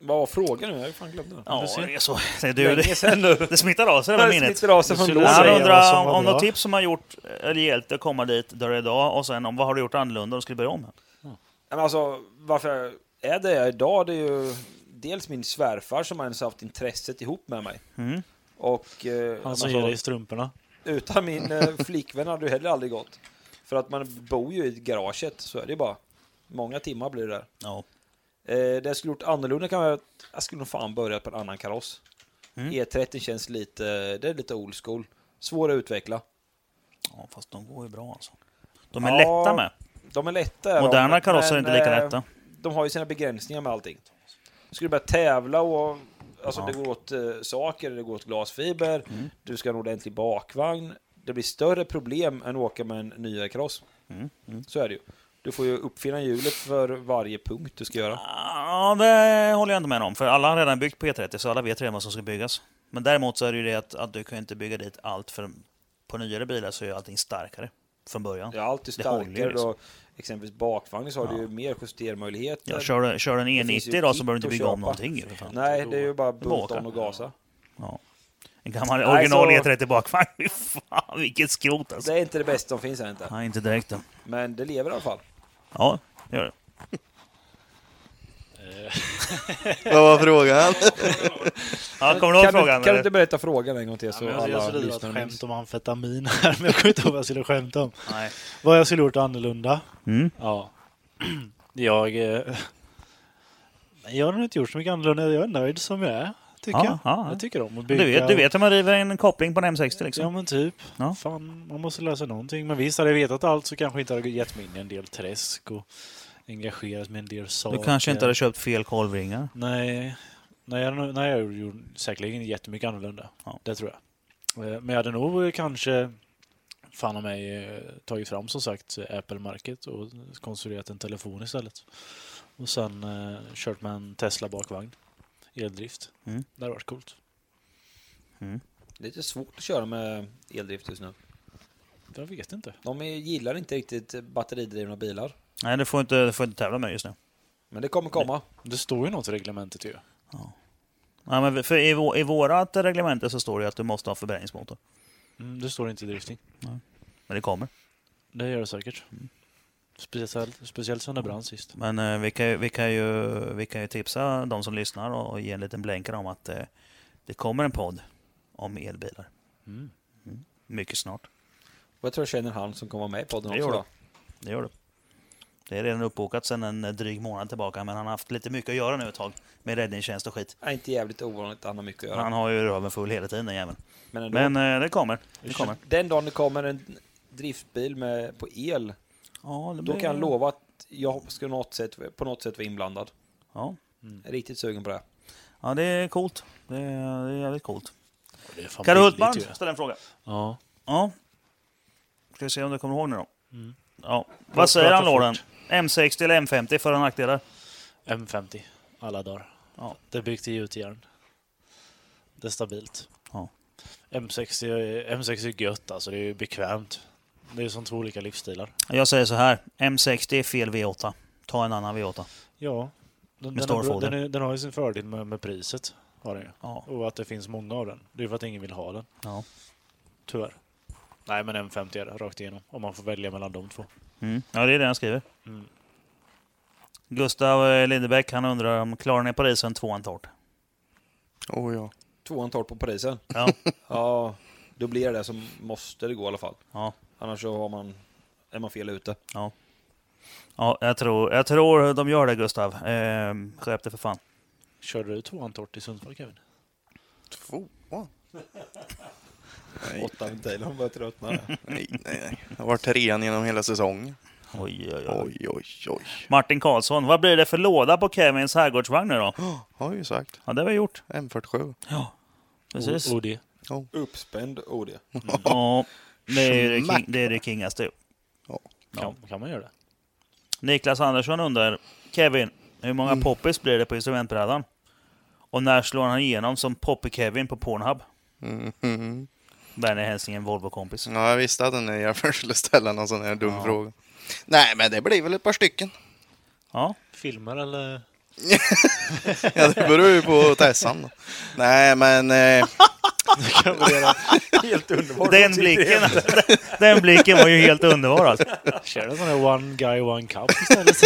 C: Vad var frågan nu? Jag har ju fan glömt den.
A: Ja,
B: Du ser.
A: det är så. Det, är du,
C: Länge
A: det,
C: sedan nu.
A: det smittar av sig det här minnet.
C: Smittar av sig
B: Du
C: från
B: skulle
C: blå.
B: säga-
A: Han
B: vad
A: undrar
B: som
A: om,
B: var
A: om
B: bra.
A: något tips som har gjort eller hjälpt att komma dit där du är idag och sen om vad har du gjort annorlunda och skulle börja om?
C: Men alltså, varför jag är det jag är idag? Det är ju dels min svärfar som har ens haft intresset ihop med mig.
A: Mm.
C: Och eh,
B: Han som
C: alltså,
B: ger dig
A: Eh,
B: strumporna.
C: utan min eh, flickvän hade det heller aldrig gått. För att man bor ju i garaget, så är det ju bara. Många timmar blir det där.
A: Ja.
C: Eh, det jag skulle gjort annorlunda kan jag... Jag skulle nog fan börjat på en annan kaross.
A: Mm.
C: E30 känns lite... Det är lite old school. Svår att utveckla.
A: ja, fast de går ju bra alltså. De är
C: Ja,
A: lätta med.
C: De är lätta. är
A: Moderna
C: de,
A: karosser är
C: men,
A: inte lika
C: eh,
A: lätta.
C: De har ju sina begränsningar med allting. Ska du börja tävla och... Alltså
A: Ja.
C: det går åt eh, saker, det går åt glasfiber,
A: Mm.
C: du ska ha en ordentlig bakvagn. Det blir större problem än att åka med en nyare kaross.
A: Mm,
C: Så är det ju. Du får ju uppfinna hjulet för varje punkt du ska göra.
A: Ja, det håller jag inte med om. För alla har redan byggt på E30 så alla vet redan vad som ska byggas. Men däremot så är det ju det att, att du kan ju inte bygga dit allt för på nyare bilar så är ju allting starkare från början.
C: Det är alltid
A: Det håller ju
C: starkare
A: liksom.
C: då. Exempelvis bakvagnen så har du ju mer justermöjligheter.
A: Ja, kör, du- kör du en
C: Det finns ju
A: E90 idag så
C: kit
A: behöver du
C: att
A: inte bygga om
C: köpa.
A: någonting. ju, För fan.
C: Nej, det är ju bara
A: Tillbaka.
C: bulta om och gasa.
A: Ja. En gammal
C: Nej,
A: original
C: så-
A: E30 bakvagn. Fy fan, vilket skrot alltså.
C: Det är inte det bästa som finns här inte.
A: Nej, inte direkt då.
C: Men det lever i alla fall.
A: Ja, det gör det.
D: Vad var frågan?
A: Ja, kommer du ihåg
C: kan
A: frågan?
C: Du, kan du
A: eller?
C: inte berätta frågan en gång till så
B: Ja, men
A: alltså,
B: jag
C: alla
B: jag skulle dra ett
C: lyssnare
B: skämt
C: minns?
B: om amfetamin här, men jag kommer inte ihåg vad jag skulle skämta om.
A: Nej.
B: Vad jag skulle gjort annorlunda?
A: Mm.
B: Ja. Jag... eh, Jag har nog inte gjort så mycket annorlunda. Jag är nöjd som jag är, tycker
A: Ja,
B: jag.
A: ja.
B: Jag tycker om att bygga.
A: Du vet, du vet hur man river en koppling på en M60
B: Ja,
A: liksom?
B: men typ.
A: Ja.
B: Fan, man måste lära sig någonting. Men visst, hade jag vetat allt så kanske jag inte hade gett mig in i en del träsk och engagerat mig i en del saker.
A: Du kanske inte hade köpt fel kolvringar?
B: Nej, nej, jag, nej, jag gjorde säkerligen jättemycket annorlunda.
A: Ja.
B: Det tror jag. Eh, Men jag hade nog kanske, fan om mig, eh, tagit fram som sagt eh, Apple Market och konstruerat en telefon istället. Och sen eh, kört med en Tesla bakvagn. Eldrift.
A: Mm.
B: Det hade varit coolt.
C: Det är lite svårt att köra med eldrift just nu.
B: Jag vet inte.
C: De är- gillar inte riktigt batteridrivna bilar.
A: Nej, du får, inte, du får inte tävla med just nu.
C: Men det kommer komma.
B: Det står ju något i reglementet ju.
A: Ja, men för i, vå- I vårat reglemente så står det ju att du måste ha förbränningsmotor.
B: Mm, det står inte i drifting.
A: Men det kommer.
B: Det gör det säkert.
A: Mm.
B: Speciellt, speciellt sen det brann sist.
A: Men eh, vi, kan ju, vi, kan ju, vi kan ju tipsa de som lyssnar och, och ge en liten blänkare om att eh, det kommer en podd om elbilar.
B: Mm.
A: Mycket snart.
C: Och jag tror jag känner han som kommer vara med i podden
A: Det
C: också.
A: gör
C: Då.
A: Det gör det. Det är redan uppbokat sedan en eh, dryg månad tillbaka, men han har haft lite mycket att göra nu ett tag. Med räddningstjänst och skit.
C: Är inte jävligt ovanligt, han har mycket att göra.
A: Han har ju röven full hela tiden, den jäveln.
C: Men, ändå,
A: Men eh, det kommer. Det kommer.
C: den dagen det kommer en driftbil med, på el,
A: Ja, det
C: då kan jag lova att jag ska något sätt, på något sätt vara inblandad.
A: Ja.
C: Jag är riktigt sugen på det.
A: ja, det är coolt. Det är, det är jävligt coolt.
B: Det är fan
A: Kalle
B: billigt
A: Hultman
B: ju.
A: ställer en fråga.
B: Ja.
A: Ja. Ska vi se om du kommer ihåg nu då.
B: Mm.
A: Ja. Vad säger han
B: Prata
A: Loren?
B: fort.
A: M60 eller M50 för och nackdelar?
B: M50, alla dagar.
A: Ja.
B: Det är byggt i gjutjärn. Det är stabilt.
A: Ja.
B: M60, är- M60 är gött alltså, det är ju bekvämt. Det är som två olika livsstilar.
A: Jag säger så här. M60 är fel V8. Ta en annan V8.
B: Ja, den, den,
A: stor
B: har, bra-
A: foder.
B: den, är, den har ju sin fördel med, med priset. Har den ju.
A: Ja.
B: Och att det finns många av den. Det är för att ingen vill ha den,
A: ja.
B: tyvärr. Nej, men M50 är det, rakt igenom. Om man får välja mellan de två.
A: Mm. Ja, det är det han skriver.
B: Mm.
A: Gustav eh, Lindebäck han undrar om klarar ni Parisen tvåan torrt?
D: Oh, ja.
C: Tvåan tar på Parisen.
A: Ja,
C: Ja, då blir det som måste det gå i alla fall.
A: ja,
C: Annars så har man, är man fel ute.
A: ja. ja jag, tror, jag tror de gör det, Gustav. Eh, skärp dig för fan.
B: Körde du tvåan torrt i Sundsvall Kevin?
D: Tvåan? Nej,
C: Åtta ventiler, man börjar tröttna. där.
D: nej, nej, nej. Det har varit trean genom hela säsongen.
A: Oj, oj, oj.
D: Oj, oj, oj.
A: Martin Karlsson, vad blir det för låda på Kevins herrgårdsvagn nu då?
D: Har ju sagt.
A: Ja, det har vi gjort.
D: M47.
A: Ja, precis.
B: O- OD.
C: Uppspänd OD.
A: Ja, det är ju det, king, det, är det kingaste. ju.
B: Kan, kan man göra det?
A: Niklas Andersson undrar, Kevin, hur många poppis blir det på instrumentbrädan? Och när slår han igenom som Poppy-Kevin på Pornhub?
D: Mhm.
A: Vänlig hälsningen Volvo-kompis.
D: Ja, jag visste att den jäveln skulle ställa någon sån här dum fråga. Nej, men det blir väl ett par stycken.
A: Ja,
B: Filmer eller?
D: Ja, det beror ju på Tessan. då. Nej, men... Eh,
C: Helt underbart.
A: den blicken, den blicken var ju helt underbar alltså.
B: Kör en sån här One Guy One Cup istället.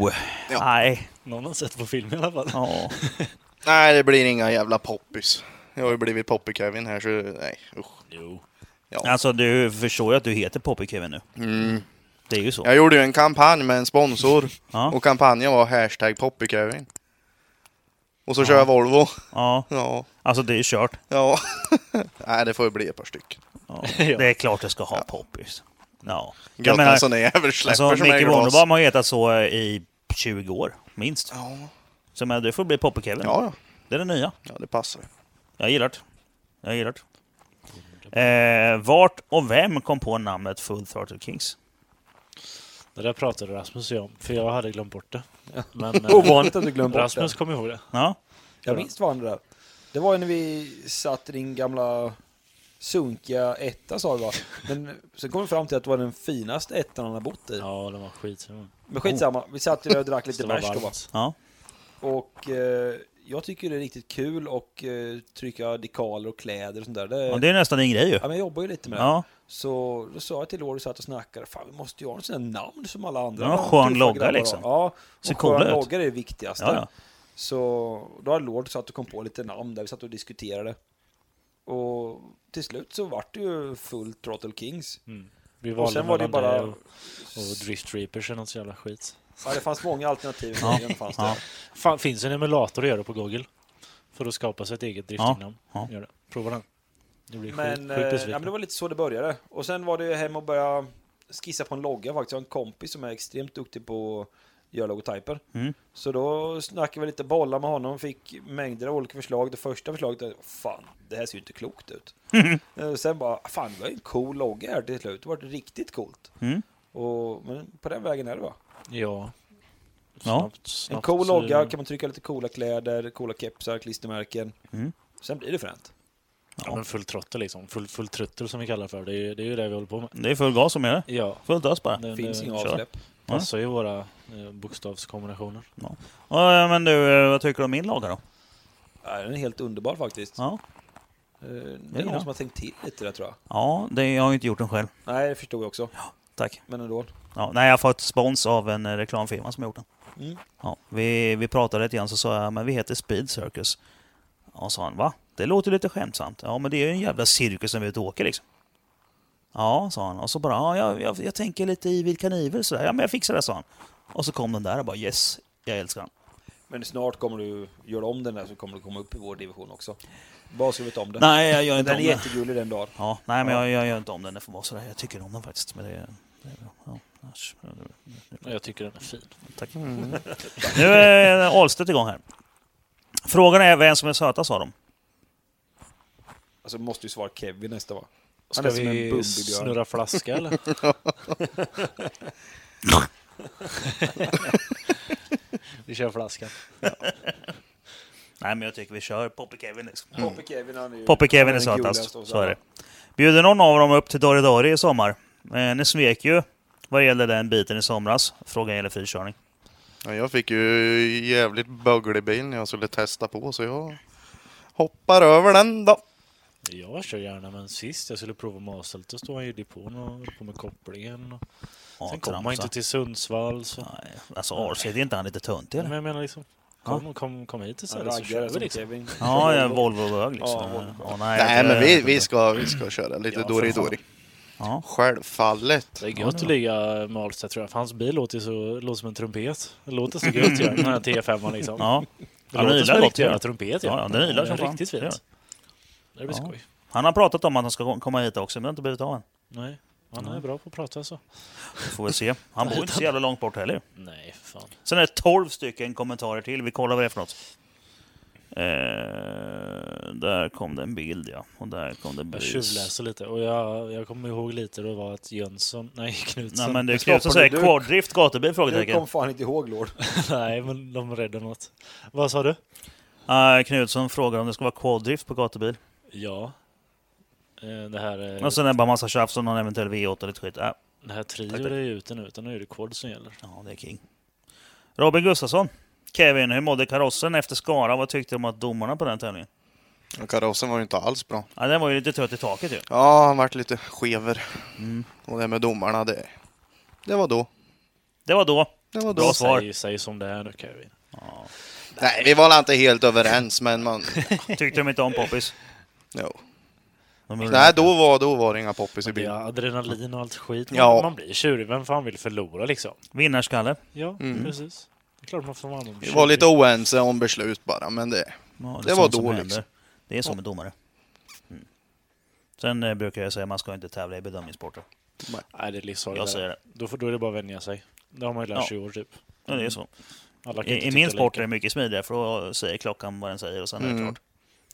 A: Oh, nej.
B: Någon har sett på film i alla fall.
A: Ja.
D: nej, det blir inga jävla poppis. Jag har ju blivit poppy-Kevin här, så nej, usch.
B: Jo.
A: Alltså du förstår ju att du heter Poppy-Kevin nu. Det är ju så.
D: Jag gjorde ju en kampanj med en sponsor.
A: Ja.
D: Och kampanjen var hashtag poppy-Kevin. Och så kör jag Volvo.
A: Ja,
D: Ja,
A: alltså det är ju kört.
D: ja. nej, det får ju bli ett par stycken.
A: Ja.
B: Ja.
A: Det är klart du ska ha poppis. Ja.
D: Gött
A: Jag
D: med en
A: menar,
D: sån där jävel släpper
A: alltså,
D: som är
A: Micke
D: glas.
A: Wunderbaum har hetat så i 20 år, minst.
D: Ja, ja,
A: Så men, du får bli Poppy-Kevin.
D: ja,
A: Det är det nya.
D: ja, det passar.
A: Jag gillar det. Jag gillar det. Eh, vart och vem kom på namnet Full Throttle Kings?
B: Det där pratade Rasmus och jag om, för jag hade glömt bort det. Men eh,
C: Oh. Ovanligt att du glömde bort
B: Rasmus
C: det.
B: kom ihåg det.
A: Ja,
C: Jag minns vad det där. Det var ju när vi satt i din gamla sunkiga etta sa du va? Men sen kom vi fram till att det var den finaste ettan han har bott i.
B: Ja, det var skitsamma.
C: Men skitsamma, vi satt ju där och drack lite
B: Det var
C: bärs då va?
B: varmt.
A: ja.
C: Och eh, jag tycker det är riktigt kul och eh, trycka dekaler och kläder och sånt där. Det,
A: ja
C: ja,
A: det är nästan din grej ju.
C: men jag jobbar ju lite med det.
A: Ja,
C: Så då sa jag till Lori så att och snackade, fan vi måste ju ha en sån där namn som alla andra.
A: Ja,
C: namn,
A: skön
C: tuffa
A: logga,
C: grabbar har.
A: liksom.
C: Ja,
A: Ser
C: och
A: coola
C: skön
A: ut.
C: logga är det viktigaste.
A: ja, ja.
C: Så då har Lord satt och kom på lite namn där, vi satt och diskuterade. Och till slut så vart det ju full Throttle Kings.
A: Mm.
B: Vi
C: Och
B: valde
C: sen var det ju
B: mellan
C: bara...
B: och, och Drift Reapers eller något så jävla skit.
C: Ja, det fanns många alternativ.
A: Ja,
C: men fanns det.
A: ja.
B: Fan, finns en emulator att göra på Google? För att skapa sig ett eget driftingnamn.
A: ja.
B: Gör det. Prova den. Du blir
C: Men,
B: sjukt, sjukt
C: eh, ja,
B: besviken.
C: men det var lite så det började. Och sen var det ju hem och börja skissa på en logga faktiskt. Jag har en kompis som är extremt duktig på att göra logotyper.
A: Mm.
C: Så då snackade vi lite bollar med honom, fick mängder av olika förslag. Det första förslaget är fan, det här ser ju inte klokt ut. Eh, Sen bara, fan, det var ju en cool logga här till slut. Det var riktigt coolt.
A: Mm.
C: Och, men på den vägen är det va?
B: Ja.
A: Ja.
B: Snabbt, snabbt, eh,
C: En cool
B: så-
C: logga, kan man trycka lite coola kläder, coola kepsar, klistermärken.
A: Mm.
C: Sen blir det fränt.
B: Ja, men full trottel liksom. Full, full truttel som vi kallar för. Det är, ju- det är ju det vi håller på med.
A: Det är full gas som är det.
B: Ja.
A: Fullt ös bara.
B: Det,
C: Finns
B: det
C: inga
A: eh, kör.
C: avsläpp.
B: passar ju våra eh, bokstavskombinationer.
A: Ja, men du, eh, vad tycker du om min logga då?
C: Nej, den är helt underbar faktiskt.
A: Ja,
C: Eh, Det
A: Ja.
C: är någon som har tänkt till lite där tror jag.
A: ja det, jag har ju inte gjort den själv.
C: Nej, det förstod jag också.
A: Tack.
C: Men ändå.
A: Ja, nej, jag har fått spons av en eh, reklamfirma som har gjort den.
C: Mm.
A: Ja, vi, vi pratade lite grann så sa jag men vi heter Speed Circus. Ja, sa han. Va? Det låter lite skämtsamt. Ja, men det är ju en jävla cirkus som vi är ute och åker liksom. Ja, sa han. Och så bara, ja, jag, jag, jag tänker lite i Evil Knievel sådär. Ja, men jag fixar det, sa han. Och så kom den där och bara yes, jag älskar den.
C: Men snart kommer du göra om den där så kommer du komma upp i vår division också. Bara ska vi ta om den.
A: Nej, jag gör
C: den
A: inte
C: är
A: om den.
C: jättegullig den dagen.
A: Ja, nej, men
C: Ja.
A: jag, jag gör inte om den. Det får vara sådär. Jag tycker om den faktiskt. Men det, det är bra. Ja. asch.
B: Och Jag tycker den är fin.
A: Tack. Nu är Ahlstedt igång här. Frågan är vem som är sötast av dem.
C: Alltså måste ju svara Kevin nästa va? Han
B: Ska
C: är som en
B: vi
C: bumbibjörn.
B: snurra flaska eller? vi kör flaskan.
A: Nej, men jag tycker vi kör Poppy Kevin. Liksom.
B: Mm.
C: Poppe Kevin han är ju...
A: Poppy Kevin är
C: den gulaste
A: sötast,
C: och
A: så är det. Bjuder någon av dem upp till Dori Dori i sommar? Eh, ni svek ju vad gäller den biten i somras. Frågan gäller frikörning.
D: Ja, jag fick ju jävligt böglig bil när jag skulle testa på så jag hoppar över den då.
B: Jag kör gärna, men sist jag skulle prova Maselt då stod han ju i depån och höll på med kopplingen. Och
A: Ja,
B: sen kom
A: tramsa.
B: han inte till Sundsvall. Så.
A: Nej, Alltså, Arce, det är inte han lite töntig
B: Men
A: eller?
B: jag menar liksom, Kom, kom, kom hit istället så kör
C: Raggare
B: vi
C: som
B: liksom.
C: Kevin.
A: Ja, ja Volvo-bög liksom.
C: Ja, Volvo.
A: Ja, jag
D: Nej,
A: tror-
D: men vi, vi, ska, vi ska köra lite
A: Ja, för fan.
D: Dori-Dori.
A: Ja.
D: Självfallet.
B: Det är
A: Ja,
B: gött
A: det
B: att ligga med Ahlstedt tror jag, för hans bil låter, ju så, låter som en trumpet. Det låter så gött ju, den här T5an liksom.
A: Ja.
B: Det
A: Ja, den
B: låter
A: gillar
B: som en
A: gott,
B: riktig
A: ja.
B: jävla trumpet ju.
A: Ja, ja, den gillar
B: är
A: som fan.
B: Riktigt
A: Det gör
B: fint. Det blir
A: Ja.
B: skoj.
A: Han har pratat om att han ska komma hit också, men det har inte blivit av än.
B: Nej, han är
A: Nej.
B: bra på att prata alltså. så.
A: Vi får väl se. Han bor inte så jävla långt bort heller.
B: Nej, för fan.
A: Sen är det 12 stycken kommentarer till. Vi kollar vad det är för något. Eh, där kom det en bild, ja. Och där kom det
B: Jag
A: brus.
B: tjuvläser lite och jag, jag kommer ihåg lite då var att Jönsson, nej Knutsson.
A: Nej, men det
C: Stoppar
A: krävs att säga
C: du-
A: quaddrift gatubil?
C: Du
A: Frågetecken.
C: kom fan inte ihåg Lord.
B: nej, men de är rädda något. Vad sa du?
A: Nej, Knutsson frågar om det ska vara quaddrift på gatubil.
B: Ja. Eh, Det här, eh,
A: Och sen är det bara massa tjafs om någon eventuell V8 och lite skit. Äh,
B: det här trio
A: tack, tack.
B: det är ju ute nu, utan nu är det kod som gäller.
A: ja, det är king. Robin Gustafsson. Kevin, hur mådde karossen efter Skara? Vad tyckte du om att domarna på den tävlingen?
D: Och Karossen var ju inte alls bra.
A: Ja, den var ju lite trött i taket ju.
D: Ja, han vart lite skever.
A: Mm.
D: Och det med domarna, det, det var då.
A: Det var då.
D: Det var
A: Bra
D: då.
A: svar.
B: Säg, säg som det är nu Kevin.
A: Ja.
D: Nej, vi var väl inte helt överens, men man...
A: Tyckte de inte om poppis.
D: Jo.
A: De gjorde
D: Nej,
A: det.
D: då var, då var det inga poppis i
B: Det
D: bilen.
B: är adrenalin och allt skit. Man,
D: Ja.
B: man blir tjurig. Vem fan vill förlora liksom?
A: Mm. Vinnarskalle.
B: Ja,
D: Mm.
B: precis. Det är klart man får vara med om
D: Vi var lite
B: tjurig.
D: oense om beslut bara, men det...
A: Ja, är
D: Det
A: sånt
D: var
A: som
D: då,
A: händer.
D: liksom.
A: Det är som med domare. Mm. Sen eh, brukar jag säga att man ska inte tävla i bedömningssporter.
B: Nej, det är livsfarligt.
A: Jag
B: det där.
A: säger det.
B: Då, får, då är det bara att vänja sig. Det har man ju lärt
A: Ja.
B: sig i år typ.
A: Ja, det är så.
B: Alla kan inte
A: I, i
B: tycka
A: min sport är
B: lika.
A: det mycket smidigare för då säger klockan vad den säger och sen är det
D: Mm.
A: klart.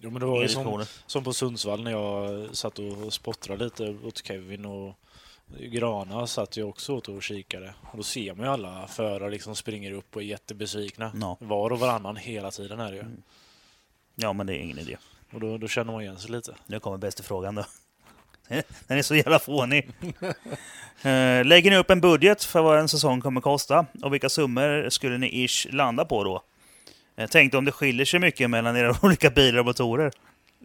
B: Jo, men det var
A: Inga
B: ju som,
A: diskussioner.
B: som på Sundsvall när jag satt och spottrade lite åt Kevin och Grana satt jag också åt och kikade. Och då ser man ju alla förare liksom springer upp och är jättebesvikna.
A: Ja.
B: Var och varannan hela tiden är det ju.
A: Ja, men det är ingen idé.
B: Och då, då känner man igen sig lite.
A: Nu kommer bästa frågan då. Den är så jävla fånig. Eh, Lägger ni upp en budget för vad en säsong kommer kosta? Och vilka summor skulle ni ish landa på då? Jag tänkte om det skiljer sig mycket mellan era olika bilar och motorer.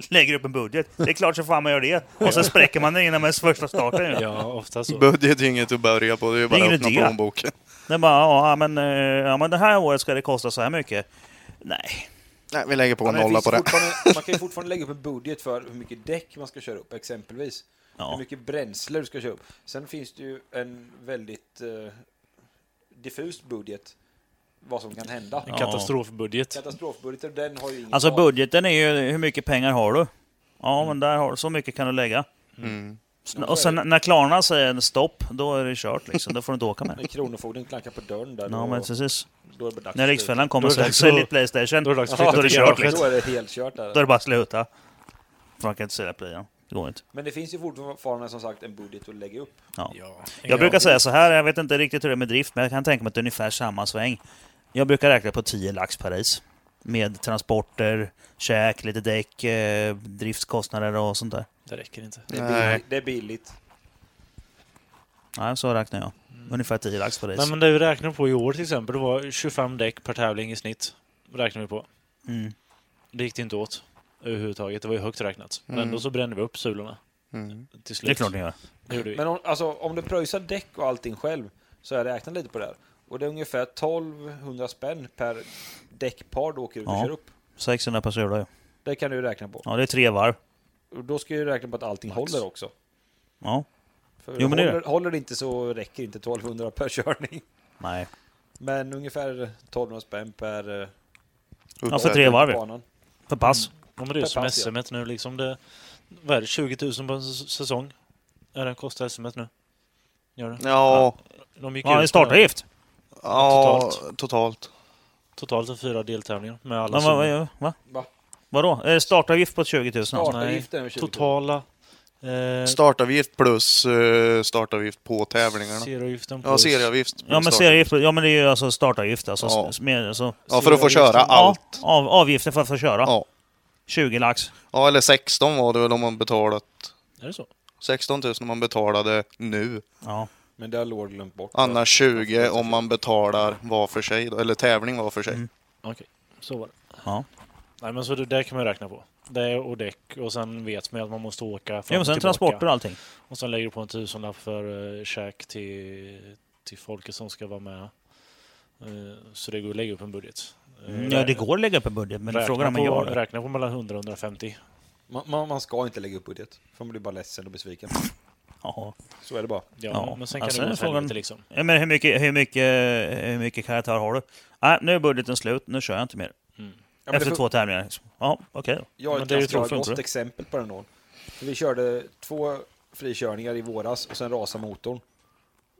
A: Lägger upp en budget. Det är klart så fan man gör det. Och sen spräcker man den innan man är första starten. ju.
B: Ja, ofta så.
D: Budget är inget att börja på, det är bara
A: ingen
D: att öppna
A: idé.
D: plånboken.
A: Det är bara, ja men, eh, ja men det här året ska det kosta så här mycket. Nej.
D: Nej, vi lägger på en
C: Men det
D: nolla
C: finns
D: på det.
C: fortfarande- Man kan ju fortfarande lägga upp en budget för hur mycket däck man ska köra upp, exempelvis. Hur
A: Ja.
C: mycket bränsle du ska köra upp. Sen finns det ju en väldigt eh, diffus budget, vad som kan hända.
B: En
A: Ja.
B: katastrofbudget.
C: Katastrofbudgeter, den har ju ingen
A: Alltså
C: tak.
A: budgeten är ju, hur mycket pengar har du? Ja men där har, så mycket kan du lägga.
D: Mm.
C: Ja,
A: Och
C: så
A: sen
C: är det.
A: när Klarna säger stopp, då är det kört liksom. Då får du inte åka
C: När
A: med.
C: Kronofogden klankar på dörren där,
A: Ja,
C: då,
A: men precis.
C: då är det dags.
A: När Riksfällan kommer
B: Då är
A: och säger
B: det dags
A: sälj
B: att-
A: ditt Playstation,
B: Då är det dags att
A: Ja,
B: flytta
A: då är det
B: till
A: kört,
B: garaget.
A: liksom.
C: Då är det helt kört
A: då är
C: där.
A: det bara att sluta. För man kan inte sälja playan. Det går inte.
C: Men det finns ju fortfarande som sagt en budget att lägga upp.
B: Ja.
A: Jag brukar säga så här, jag vet inte riktigt hur det är med drift, men jag kan tänka mig att det är ungefär samma sväng. Jag brukar räkna på 10 lax per race. Med transporter, käk, lite däck, eh, driftskostnader och sånt där.
B: Det räcker inte.
C: Det är
D: Nej.
C: billigt. Det är billigt.
A: Ja, så räknar jag. Ungefär 10 lax per
B: Mm. Nej,
A: race.
B: men det vi räknar på i år till exempel, det var 25 däck per tävling i snitt. Räknar vi på.
A: Mm.
B: Det gick det inte åt överhuvudtaget. Det var ju högt räknat. Men
D: Mm.
B: ändå så brände vi upp sulorna
D: Mm.
B: till slut.
A: Det är klart ni gör.
B: Det gjorde vi.
C: Men om, alltså, om du pröjsar däck och allting själv så har jag räknat lite på det här. Och det är ungefär 1200 spänn per däckpar du åker ut och
A: Ja.
C: kör upp.
A: 600 per sula, ja.
C: Det kan du räkna på.
A: ja. det är tre varv.
C: Och då ska du räkna på att allting håller också.
A: Ja,
C: För
A: Jo, men det är
C: håller, håller det inte så räcker inte 1200 per körning.
A: nej.
C: Men ungefär 1200 spänn per... eh,
A: Ja, för tre
C: ut på
A: varv. ja.
C: banan.
A: För pass.
B: Ja, men det är ju som
C: Pass, ja.
B: SM nu liksom. Det, vad är det? 20 000 på en s- säsong? Är det kostar SM nu? Gör det?
D: Ja,
B: De gick
A: Ja, det är
B: ut med
A: startavgift.
D: ja,
B: Totalt.
D: totalt.
B: totalt fyra deltävlingar med alla
A: Men vad-
B: summor.
A: vad- Va?
C: Va?
A: Vadå? Är det startavgift på 20 000? alltså?
C: Startavgiften är väl 20 000.
B: Totala... Eh,
D: Startavgift plus eh, startavgift på tävlingarna.
B: Serieavgiften
D: Ja,
B: plus-
D: serieavgift. plus
A: Ja men,
D: start-
A: serieavgift, ja men det är ju alltså startavgift alltså.
D: Ja.
A: s- Med, alltså
D: Ja, för att få köra
A: Ja,
D: allt.
A: Av, avgifter för att få köra.
D: Ja.
A: 20 lax.
D: ja, eller 16 var det väl om man betalat.
B: Är det så?
D: 16 000 om man betalade nu.
A: Ja.
C: Men det har Lord glömt bort.
D: Annars 20 om man betalar var för sig, då, eller tävling var för sig.
A: Mm.
B: Okej, så var det.
A: Ja.
B: Nej, men så det där kan man ju räkna på. Det och däck och sen vet man ju att man måste åka fram
A: ja men sen
B: och
A: transporter
B: tillbaka.
A: och allting.
B: Och sen lägger du på en tusenlapp för eh, käk till, till folket som ska vara med. Eh, så det går att lägga upp en budget. Eh,
A: Mm, ja, det går att lägga upp en budget, men frågan är om man gör
B: på,
A: det.
B: räkna på mellan 100 och 150.
C: Man, man, man ska inte lägga upp budget. För man blir bara ledsen och besviken.
A: Ja.
C: Så är det bara.
B: Ja,
A: Ja,
B: men sen kan
A: alltså,
B: det gå
A: den
B: åt
A: frågan-
B: helvete liksom.
A: Ja, men hur mycket, hur mycket, hur mycket karaktär har du? Nej, nu är budgeten slut, nu kör jag inte mer.
C: Ja, men
A: Efter
C: det,
A: två tävlingar. liksom. Ja, okej då.
C: jag har
B: men
C: ett
B: det är ju
C: ganska
B: tråkigt,
C: gott
B: inte?
C: exempel på den då. För vi körde två frikörningar i våras och sen rasade motorn.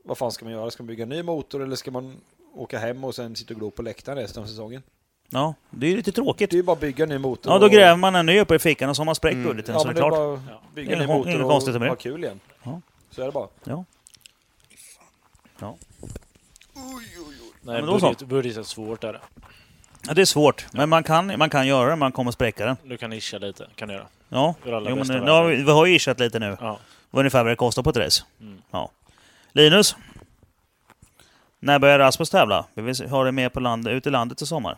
C: Vad fan ska man göra? Ska man bygga en ny motor eller ska man åka hem och sen sitta och glo på läktaren resten av säsongen?
A: Ja, det är ju lite tråkigt.
C: Det är ju bara att bygga en ny motor.
A: Ja, då
C: och-
A: gräver man en ny uppe i fickan och så har man spräckt budgeten,
C: Ja,
A: så det
C: men
A: är
C: det är
A: klart.
C: bara
B: Ja.
C: att bygga en ny
A: Inget kon-
C: motor
A: inget
C: och
A: konstigt med
C: ha
A: det.
C: kul igen.
A: Ja.
C: Så är det bara.
A: Ja. Ja.
B: Nej,
A: men då så.
B: budget, budget är svårt där.
A: ja, det är svårt, men man kan, man kan göra det, man kommer spräcka den.
B: Du kan nischa lite, kan du göra.
A: Ja,
B: Gör alla
A: jo, men,
B: bästa
A: nu,
B: värden.
A: nu har vi, vi har ju ishat lite nu,
B: Ja.
A: vad ungefär vad det kostar på ett race.
B: Mm.
A: Ja. Linus? När börjar Rasmus tävla? Vi vill se- ha det med på land, ut i landet i sommar.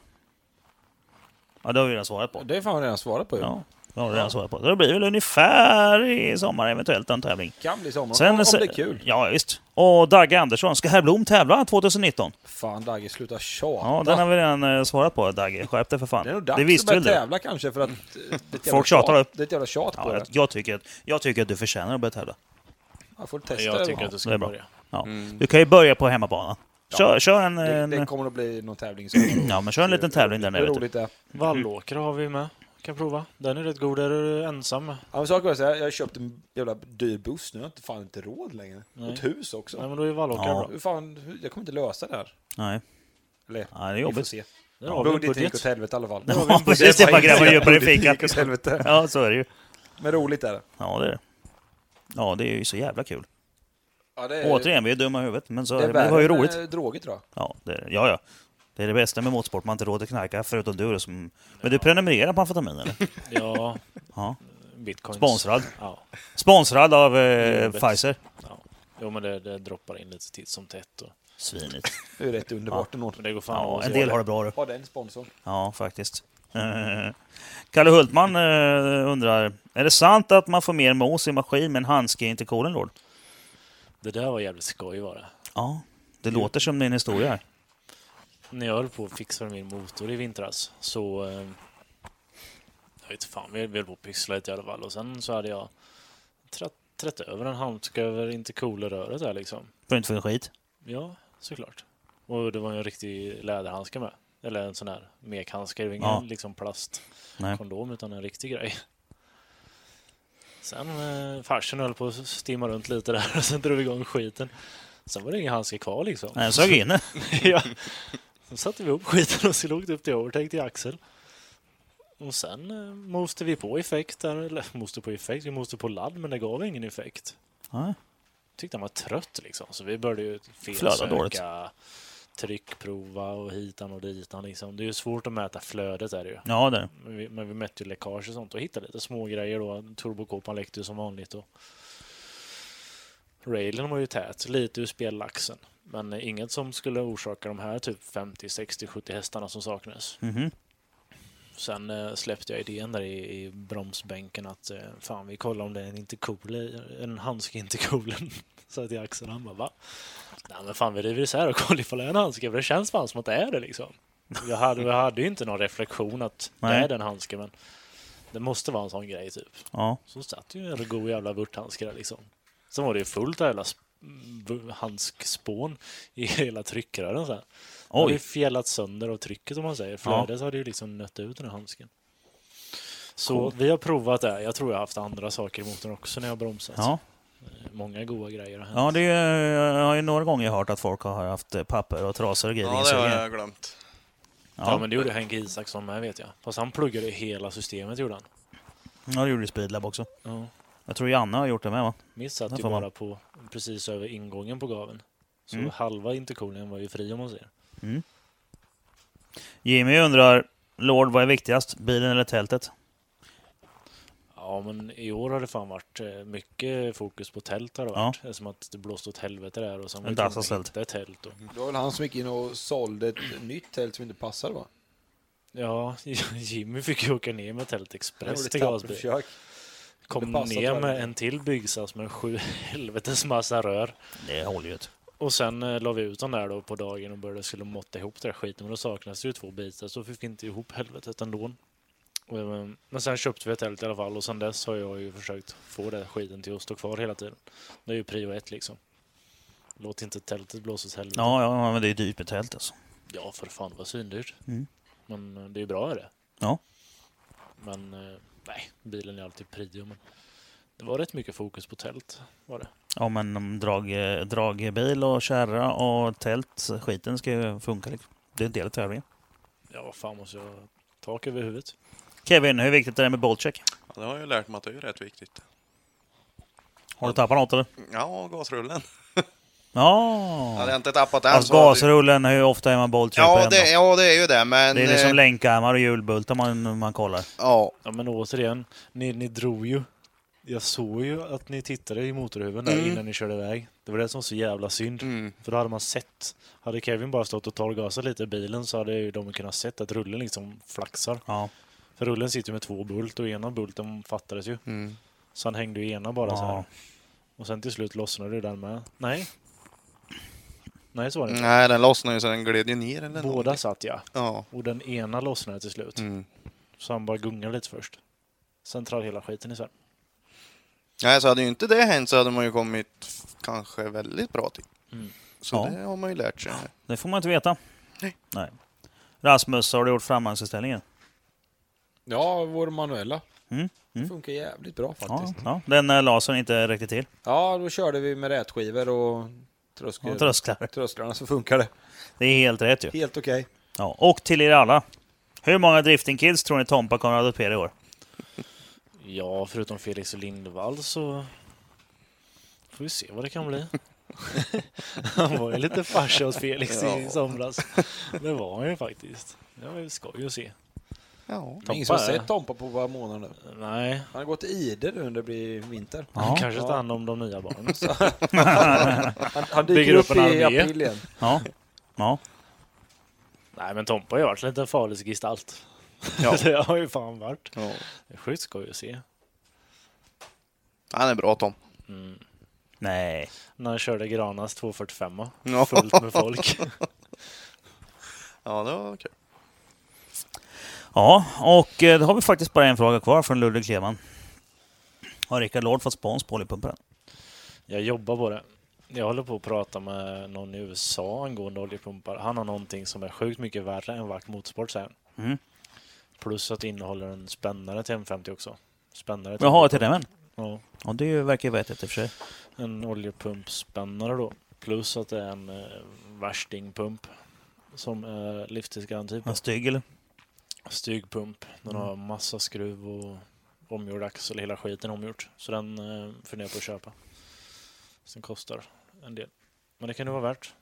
A: Ja, det har vi redan svarat på.
C: Det har fan redan svarat på.
A: Ja, det har vi redan svarat på. Så Det blir väl ungefär i sommar, eventuellt, en tävling.
C: Kan bli sommar
A: Sen-
C: om, om det är kul.
A: Ja, visst. Och Dagge Andersson, ska herr Blom tävla 2019?
C: Fan Dagge, sluta tjata.
A: Ja, den har vi redan eh, svarat på Dagge. Skärp dig för fan.
C: Det är nog dags
A: det visste
C: att
A: väl
C: börja
A: du?
C: tävla kanske för att... eh, det är ett jävla
A: Folk tjatar
C: tjat-
A: upp.
C: Det är ett jävla tjat på
A: Ja,
C: det.
A: jag, jag, tycker att, jag tycker att du förtjänar att börja tävla.
C: Jag får testa
B: Jag
C: det.
B: tycker
C: då.
B: att du
A: det
B: ska
A: är bra.
B: börja.
A: Ja.
D: Mm.
A: Du kan ju börja på hemmabanan. Kör, kör en,
C: det,
A: en,
C: det kommer att bli någon tävling som...
A: ja, men kör en liten tävling där
C: Hur
A: nere. Typ.
C: roligt det är.
B: Vallåkra har vi med. Kan prova. Den är rätt god. Där är du ensam med.
C: Ja, men saker var så här, jag har köpt en jävla dyr buss nu. Jag har inte fan inte råd längre.
B: Nej.
C: Och ett hus
B: Nej,
C: också.
B: men då är Vallåkra
A: Ja.
B: bra.
C: Hur fan, hur- jag kommer inte lösa det här.
A: Nej.
C: Eller,
A: Nej, det är
C: vi får
A: jobbigt.
C: se.
B: Där har vi en
C: Budgeten gick åt
B: budget.
C: helvete i alla fall.
A: Ja, precis. Det är bara grabbar ju på din fika.
C: Gick åt helvete.
A: Ja, så är det ju.
C: Men roligt är det.
A: Ja, det är det. Ja, det är ju så jävla kul.
C: Ja, det
A: Återigen, vi är dumma i huvudet, men, så,
C: Eh. det
A: det,
C: är
A: men det var ju
C: värre än,
A: roligt.
C: eh, droger tror jag.
A: Ja, det, är det. ja, ja. Det är det bästa med motorsport, man har inte råd att knarka, förutom du då som... Men du prenumererar på amfetamin, eller?
B: Ja,
A: Ja.
B: bitcoins.
A: Sponsrad.
B: Ja.
A: Sponsrad av eh,
B: Jobbet.
A: Pfizer.
B: ja. Jo, men det, det droppar in lite titt som tätt. Och,
A: Svinigt.
C: Det är ju rätt underbart ändå.
B: men det går fan
A: Ja,
B: att
A: en
B: se
A: del har det bra du.
C: Ha den sponsorn.
A: Ja, faktiskt. Eh, Kalle Hultman eh, undrar, är det sant att man får mer mos i maskin med en handske in till kolen, Lord?
B: Det där var jävligt skoj var det.
A: Ja, det låter som din historia här.
B: När jag höll på att fixa med min motor i vintras så... Eh, jag vet fan, vi vi höll på att pyssla lite i alla fall. Och sen så hade jag trätt, trätt över en handske över intercoolerröret där liksom.
A: För inte för en skit.
B: Ja, såklart. Och det var ju en riktig läderhandske med. Eller en sån här mekhandske. Det var ingen
A: Ja.
B: liksom plast.
A: Nej.
B: kondom utan en riktig grej. Sen eh, farsen höll på att stimma runt lite där och sen drog vi igång skiten. Sen var det ingen handske kvar liksom.
A: Nej, jag sög in det.
B: ja. Sen satte vi upp skiten och skulle åkte upp till overtake till axel. Och sen eh, moste vi på effekt där, eller moste på effekt, vi moste på ladd men det gav ingen effekt.
A: Nej.
B: Tyckte han var trött liksom så vi började ju
A: Flöda dåligt.
B: felsöka, tryckprova och hitan och ditan liksom. Det är ju svårt att mäta flödet är det ju.
A: Ja, det är det.
B: Men vi, men vi mätte ju läckage och sånt och hittade lite små grejer då. Turbokåpan läckte ju som vanligt och railen var ju tät, lite ur spellaxen. Men inget som skulle orsaka de här typ 50, 60, 70 hästarna som saknades.
A: Mhm.
B: Sen eh, släppte jag idén där i, i bromsbänken att eh, fan vi kollar om det är en intercool, i- en handske inte coolen. Så att i axeln han bara va? Nej men fan vi river isär och kollar ifall det är en handske för det känns fan som att det är det liksom. Jag hade, jag hade ju inte någon reflektion att det
A: Nej.
B: är den handsken men det måste vara en sån grej typ.
A: Ja.
B: Så satt ju en god jävla vörthandske där liksom. Sen var det ju fullt av jävla sp- v- handskspån i hela tryckrören sen. Det hade ju
A: Oj.
B: fjällat sönder av trycket om man säger. Flödet hade ju liksom nött ut den här handsken. Så vi har provat det. Jag tror jag har haft andra saker i motorn också när jag har bromsat.
A: Ja.
B: Många goda grejer har hänt.
A: ja, det är, jag har ju några gånger hört att folk har haft eh, papper och trasor och grejer.
D: Ja, det har
A: insugna.
D: jag glömt.
B: Ja,
A: Ja.
B: men det gjorde Henke Isaksson med vet jag. Fast han pluggade ju hela systemet gjorde han.
A: ja, det gjorde ju Speedlab också.
B: Ja.
A: Jag tror Janne har gjort det med, va?
B: Mitt satt
A: Där
B: ju
A: får man.
B: bara på precis över ingången på gaven. Så
A: Mm.
B: halva intercoolingen var ju fri om man säger.
A: Jimmy undrar, Lord, vad är viktigast? Bilen eller tältet?
B: Ja, men i år har det fan varit eh, mycket fokus på tält har det
A: Ja.
B: varit. Eftersom att det blåste åt helvete där och sen var
A: En
B: det tvungen
A: dassas
B: att
A: tält.
B: hitta ett tält. Och...
C: Mm. Det var väl han som gick in och sålde ett nytt tält som inte passade va?
B: Ja, Jimmy fick ju åka ner med Tält
C: Han gjorde
B: Express
C: ett
B: till Gasby.
C: tapperförsök.
B: Kom
C: Det passar, tror
B: ner
C: jag.
B: med en till byggsats med sju helvetes massa rör.
A: Det håller ju inte.
B: Och sen eh, la vi ut den där då på dagen och började skulle måtta ihop den där skiten. Men då saknades det ju två bitar så fick vi inte ihop helvetet ändå. Och, eh, Men sen köpte vi ett tält i alla fall och sen dess har jag ju försökt få den där skiten till att stå kvar hela tiden. Det är ju prio ett liksom. Låt inte tältet blåsa åt helvete.
A: Ja, ja, men det är dyrt med tält alltså.
B: Ja, för fan vad svindyrt.
A: Mm.
B: Men eh, det är ju bra är det.
A: Ja.
B: Men eh, nej, bilen är alltid prio. Men det var rätt mycket fokus på tält. Var det.
A: Ja, men om drag, eh, dragbil och kärra och tält, skiten ska ju funka. Liksom. Det är en del av tävlingen.
B: Ja, vad fan måste jag tak över huvudet?
A: Kevin, hur viktigt är det med bollcheck?
D: Ja, det har jag ju lärt mig att det är rätt viktigt.
A: Har du tappat något eller?
D: Ja, gasrullen. Hade
A: Ja.
D: jag inte tappat den
A: Alltså
D: hade jag-
A: gasrullen, hur ofta är man bollcheck
D: Ja
A: ändå?
D: det, ja, det är ju det, men...
A: Det är liksom
D: eh,
A: länkärmar och hjulbultar man, man kollar.
D: ja,
B: Ja, men återigen, ni, ni drog ju. Jag såg ju att ni tittade i motorhuven där
D: Mm.
B: innan ni körde iväg. Det var det som var så jävla synd.
D: mm,
B: För då hade man sett. Hade Kevin bara stått och torrgasat lite i bilen så hade ju de kunnat sett att rullen liksom flaxar.
A: Ja.
B: För rullen sitter ju med två bult och ena bulten fattades ju.
D: mm.
B: Så han hängde ju ena bara så här.
A: ja.
B: Och sen till slut lossnade du den med. Nej. Nej, så var det inte.
D: Nej, den lossnade ju så den gled ju ner eller någonting.
B: Båda satt jag.
D: Ja.
B: Och den ena lossnade till slut.
D: Mm.
B: Så han bara gungade lite först. Sen trallade hela skiten isär.
D: Nej, så hade ju inte det hänt så hade man ju kommit f- kanske väldigt bra till.
B: Mm.
D: Så
A: Ja.
D: det har man ju lärt sig.
A: Det får man inte veta.
D: Nej.
A: Nej. Rasmus, har du gjort framgångsställningen?
C: Ja, vår manuella.
A: Mm, mm.
C: Funkar jävligt bra
A: Ja,
C: faktiskt.
A: ja. Den eh, lasern inte räckte till.
C: Ja. då körde vi med rätskivor och tröskel,
A: Ja, trösklar.
C: trösklarna så funkar det.
A: Det är helt rätt ju.
C: Helt okej.
A: Ja. Och till er alla. Hur många Drifting Kids tror ni Tompa kommer att adoptera i år?
B: Ja, förutom Felix och Lindvall så får vi se vad det kan bli. han var ju lite farsa åt Felix i
D: Ja.
B: somras. Det var han ju faktiskt. Det var ju skoj att se.
D: Ja.
C: Det är Ingen som har
B: Tompa är-
C: sett Tompa på våra månader nu.
B: Nej,
C: Han har gått i ide nu när det blir vinter.
B: han
A: Ja.
B: kanske tar hand om de nya barnen.
C: Han, han
B: Bygger
C: dyker
B: upp
C: upp,
B: en
C: i
B: armé.
C: april igen.
A: Ja. Ja.
B: Nej, men Tompa har ju varit en liten farlig gestalt.
D: Ja.
B: det har ju fan varit.
D: ja.
B: Det är sjukt skoj att se.
D: Han är bra Tom.
B: Mm.
A: Nej.
B: När han körde Granas 245
D: Ja.
B: fullt med folk.
D: Ja, det var kul.
A: Ja, och eh, då har vi faktiskt bara en fråga kvar från Ludvig Kleman. Har Rickard Lord fått spons på oljepumparen?
B: Jag jobbar på det. Jag håller på att prata med någon i USA angående oljepumpar. Han har någonting som är sjukt mycket värre än Vac Motorsport säger han.
A: Mm.
B: Plus att det innehåller en spännare till M50 också. Spännare till
A: Jaha, till den?
B: Ja,
A: Ja, det verkar ju vettigt i och för sig.
B: en oljepumpspännare då. Plus att det är en eh, värstingpump som är livstidsgaranti på.
A: En stygg eller?
B: Stygpump. Den har
A: Mm.
B: massa skruv och omgjord axel, hela skiten omgjort. Så den eh, funderar jag på att köpa. Sen kostar en del. Men det kan det vara värt.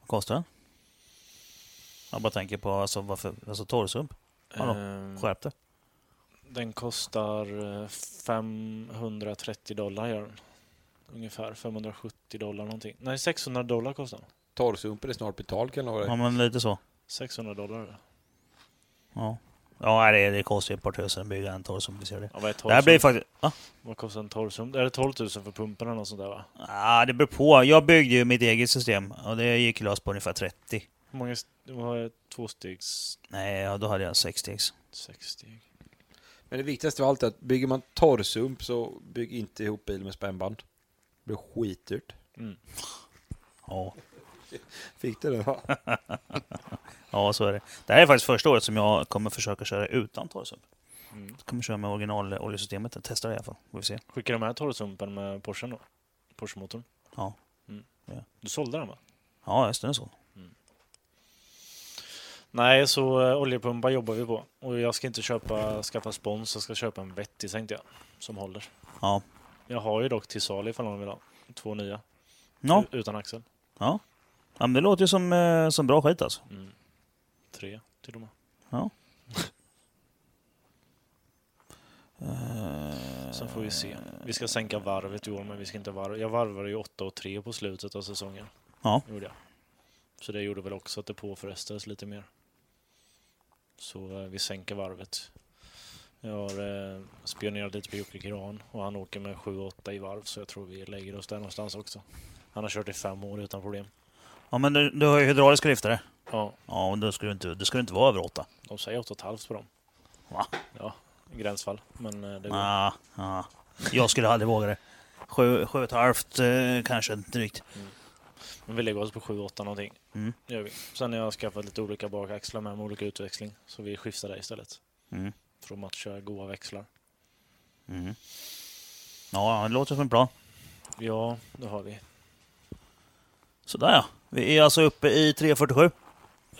A: Vad kostar den? Jag bara tänker på alltså, varför, alltså torrsump. Ja då,
B: Ehm,
A: Skärp det.
B: Den kostar eh, 530 dollar gör den. Ungefär 570 dollar någonting. Nej, 600 dollar kostar den.
C: Torrsumpen är snart betald kan jag lova
A: Ja,
C: dig.
A: men lite så.
B: 600 dollar.
A: Ja, ja nej, det, det kostar ju ett par tusen att bygga en torrsump. Vi ser det.
B: Ja, vad, är
A: Det här
B: 12
A: blir faktiskt... Ja,
B: vad kostar en torrsum? Är det 12 000 för pumpen eller något sånt där va?
A: ah, det beror på. Jag byggde ju mitt eget system och det gick lös på ungefär 30.
B: Hur många... st- Vad har jag? Två stegs...
A: Nej, ja, då hade jag 6 stegs.
B: Sex steg.
C: Men det viktigaste av allt är att bygger man torrsump så bygg inte ihop bil med spännband. Det blir skitdyrt.
B: Mm.
A: Ja.
C: Fick du det? Va?
A: ja, så är det. Det här är faktiskt första året som jag kommer försöka köra utan torrsump.
B: Mm.
A: Jag kommer köra med originaloljesystemet. Jag testar det i alla fall. Får vi se.
B: Skickar de här torrsumpen med Porschen då? Porsche-motorn?
A: Ja.
B: Mm.
A: Ja.
B: Du sålde den va?
A: Ja, just det. det är så.
B: Nej, så eh, oljepumpar jobbar vi på. Och jag ska inte köpa, skaffa spons, jag ska köpa en vettig tänkte jag. Som håller.
A: Ja.
B: Jag har ju dock till salu ifall någon vill ha. Två nya.
A: Ja,
B: U- Utan axel.
A: ja men det låter ju som, eh, som bra skit alltså.
B: Mm. Tre till och med.
A: Eh,
B: Sen får vi se. Vi ska sänka varvet i år, men vi ska inte varva. Jag varvade ju 8 och 3 på slutet av säsongen.
A: Ja.
B: Gjorde jag. Så det gjorde väl också att det påfrestades lite mer. Så eh, vi sänker varvet. Jag har eh, spionerat lite på Jocke Gran och han åker med 7-8 i varv så jag tror vi lägger oss där någonstans också. Han har kört i fem år utan problem.
A: Ja, men du, du har ju hydrauliska lyftare.
B: Ja,
A: Ja, men då ska du inte, det ska du inte vara över åtta.
B: de säger 8,5 på dem.
A: Va?
B: Ja, gränsfall. Men eh, det går.
A: Ah, ah. Jag skulle aldrig våga det. Sju, sju och ett halvt eh, kanske, drygt.
B: Men vi lägger oss på 7-8 någonting.
A: Mm.
B: Gör vi. Sen har jag skaffat lite olika bakaxlar med, med olika utväxling. Så vi skiftar det istället.
A: Mm.
B: För att matcha goa växlar.
A: Mm. Ja, ja, det låter som en plan.
B: Ja, det har vi.
A: Sådär ja. Vi är alltså uppe i 3.47.
B: Är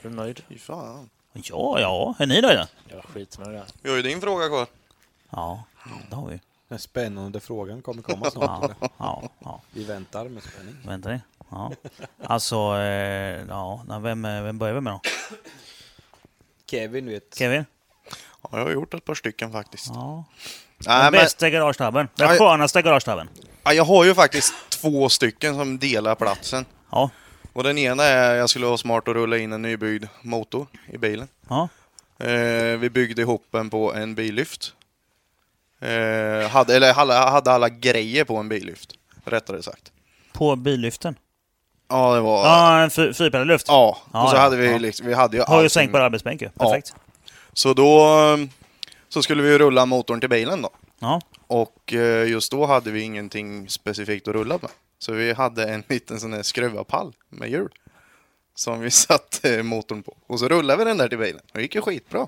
B: du nöjd?
D: Fy fan.
A: Ja, ja. Är ni nöjda?
B: Jag skiter med det där.
D: Vi har ju din fråga kvar.
A: Ja, det har vi ju.
E: Den spännande frågan kommer komma snart. tror jag.
A: Ja, ja.
E: Vi väntar med spänning.
A: Vänta ni. Ja. Alltså, eh, ja. nej, Vem, eh, vem börjar vi med då?
E: Kevin vet.
A: Kevin?
D: Ja, jag har gjort ett par stycken faktiskt.
A: Ja.
D: Nej,
A: Den
D: men,
A: bästa garagetabben. Den
D: Aj.
A: skönaste garagetabben.
D: ja, jag har ju faktiskt två stycken som delar platsen.
A: Ja.
D: Och den ena är jag skulle vara smart och rulla in en nybyggd motor i bilen.
A: ja.
D: Eh, vi byggde ihop den på en billyft. Eh, hade, eller alla, hade alla grejer på en billyft, rättare sagt.
A: På billyften.
D: Ja, det var...
A: Ja, en fy- fyrpedalslyft.
D: Ja,
A: Ja,
D: och så
A: ja,
D: hade vi
A: ja.
D: liksom, vi hade ju
A: Har ju
D: allting.
A: sänkbar arbetsbänk ju. Perfekt.
D: Så då eh, så skulle vi ju rulla motorn till bilen då.
A: Ja.
D: Och eh, just då hade vi ingenting specifikt att rulla med. Så vi hade en liten sån här skruvarpall med hjul. Som vi satte eh, motorn på. Och så rullade vi den där till bilen. Och det gick ju skitbra.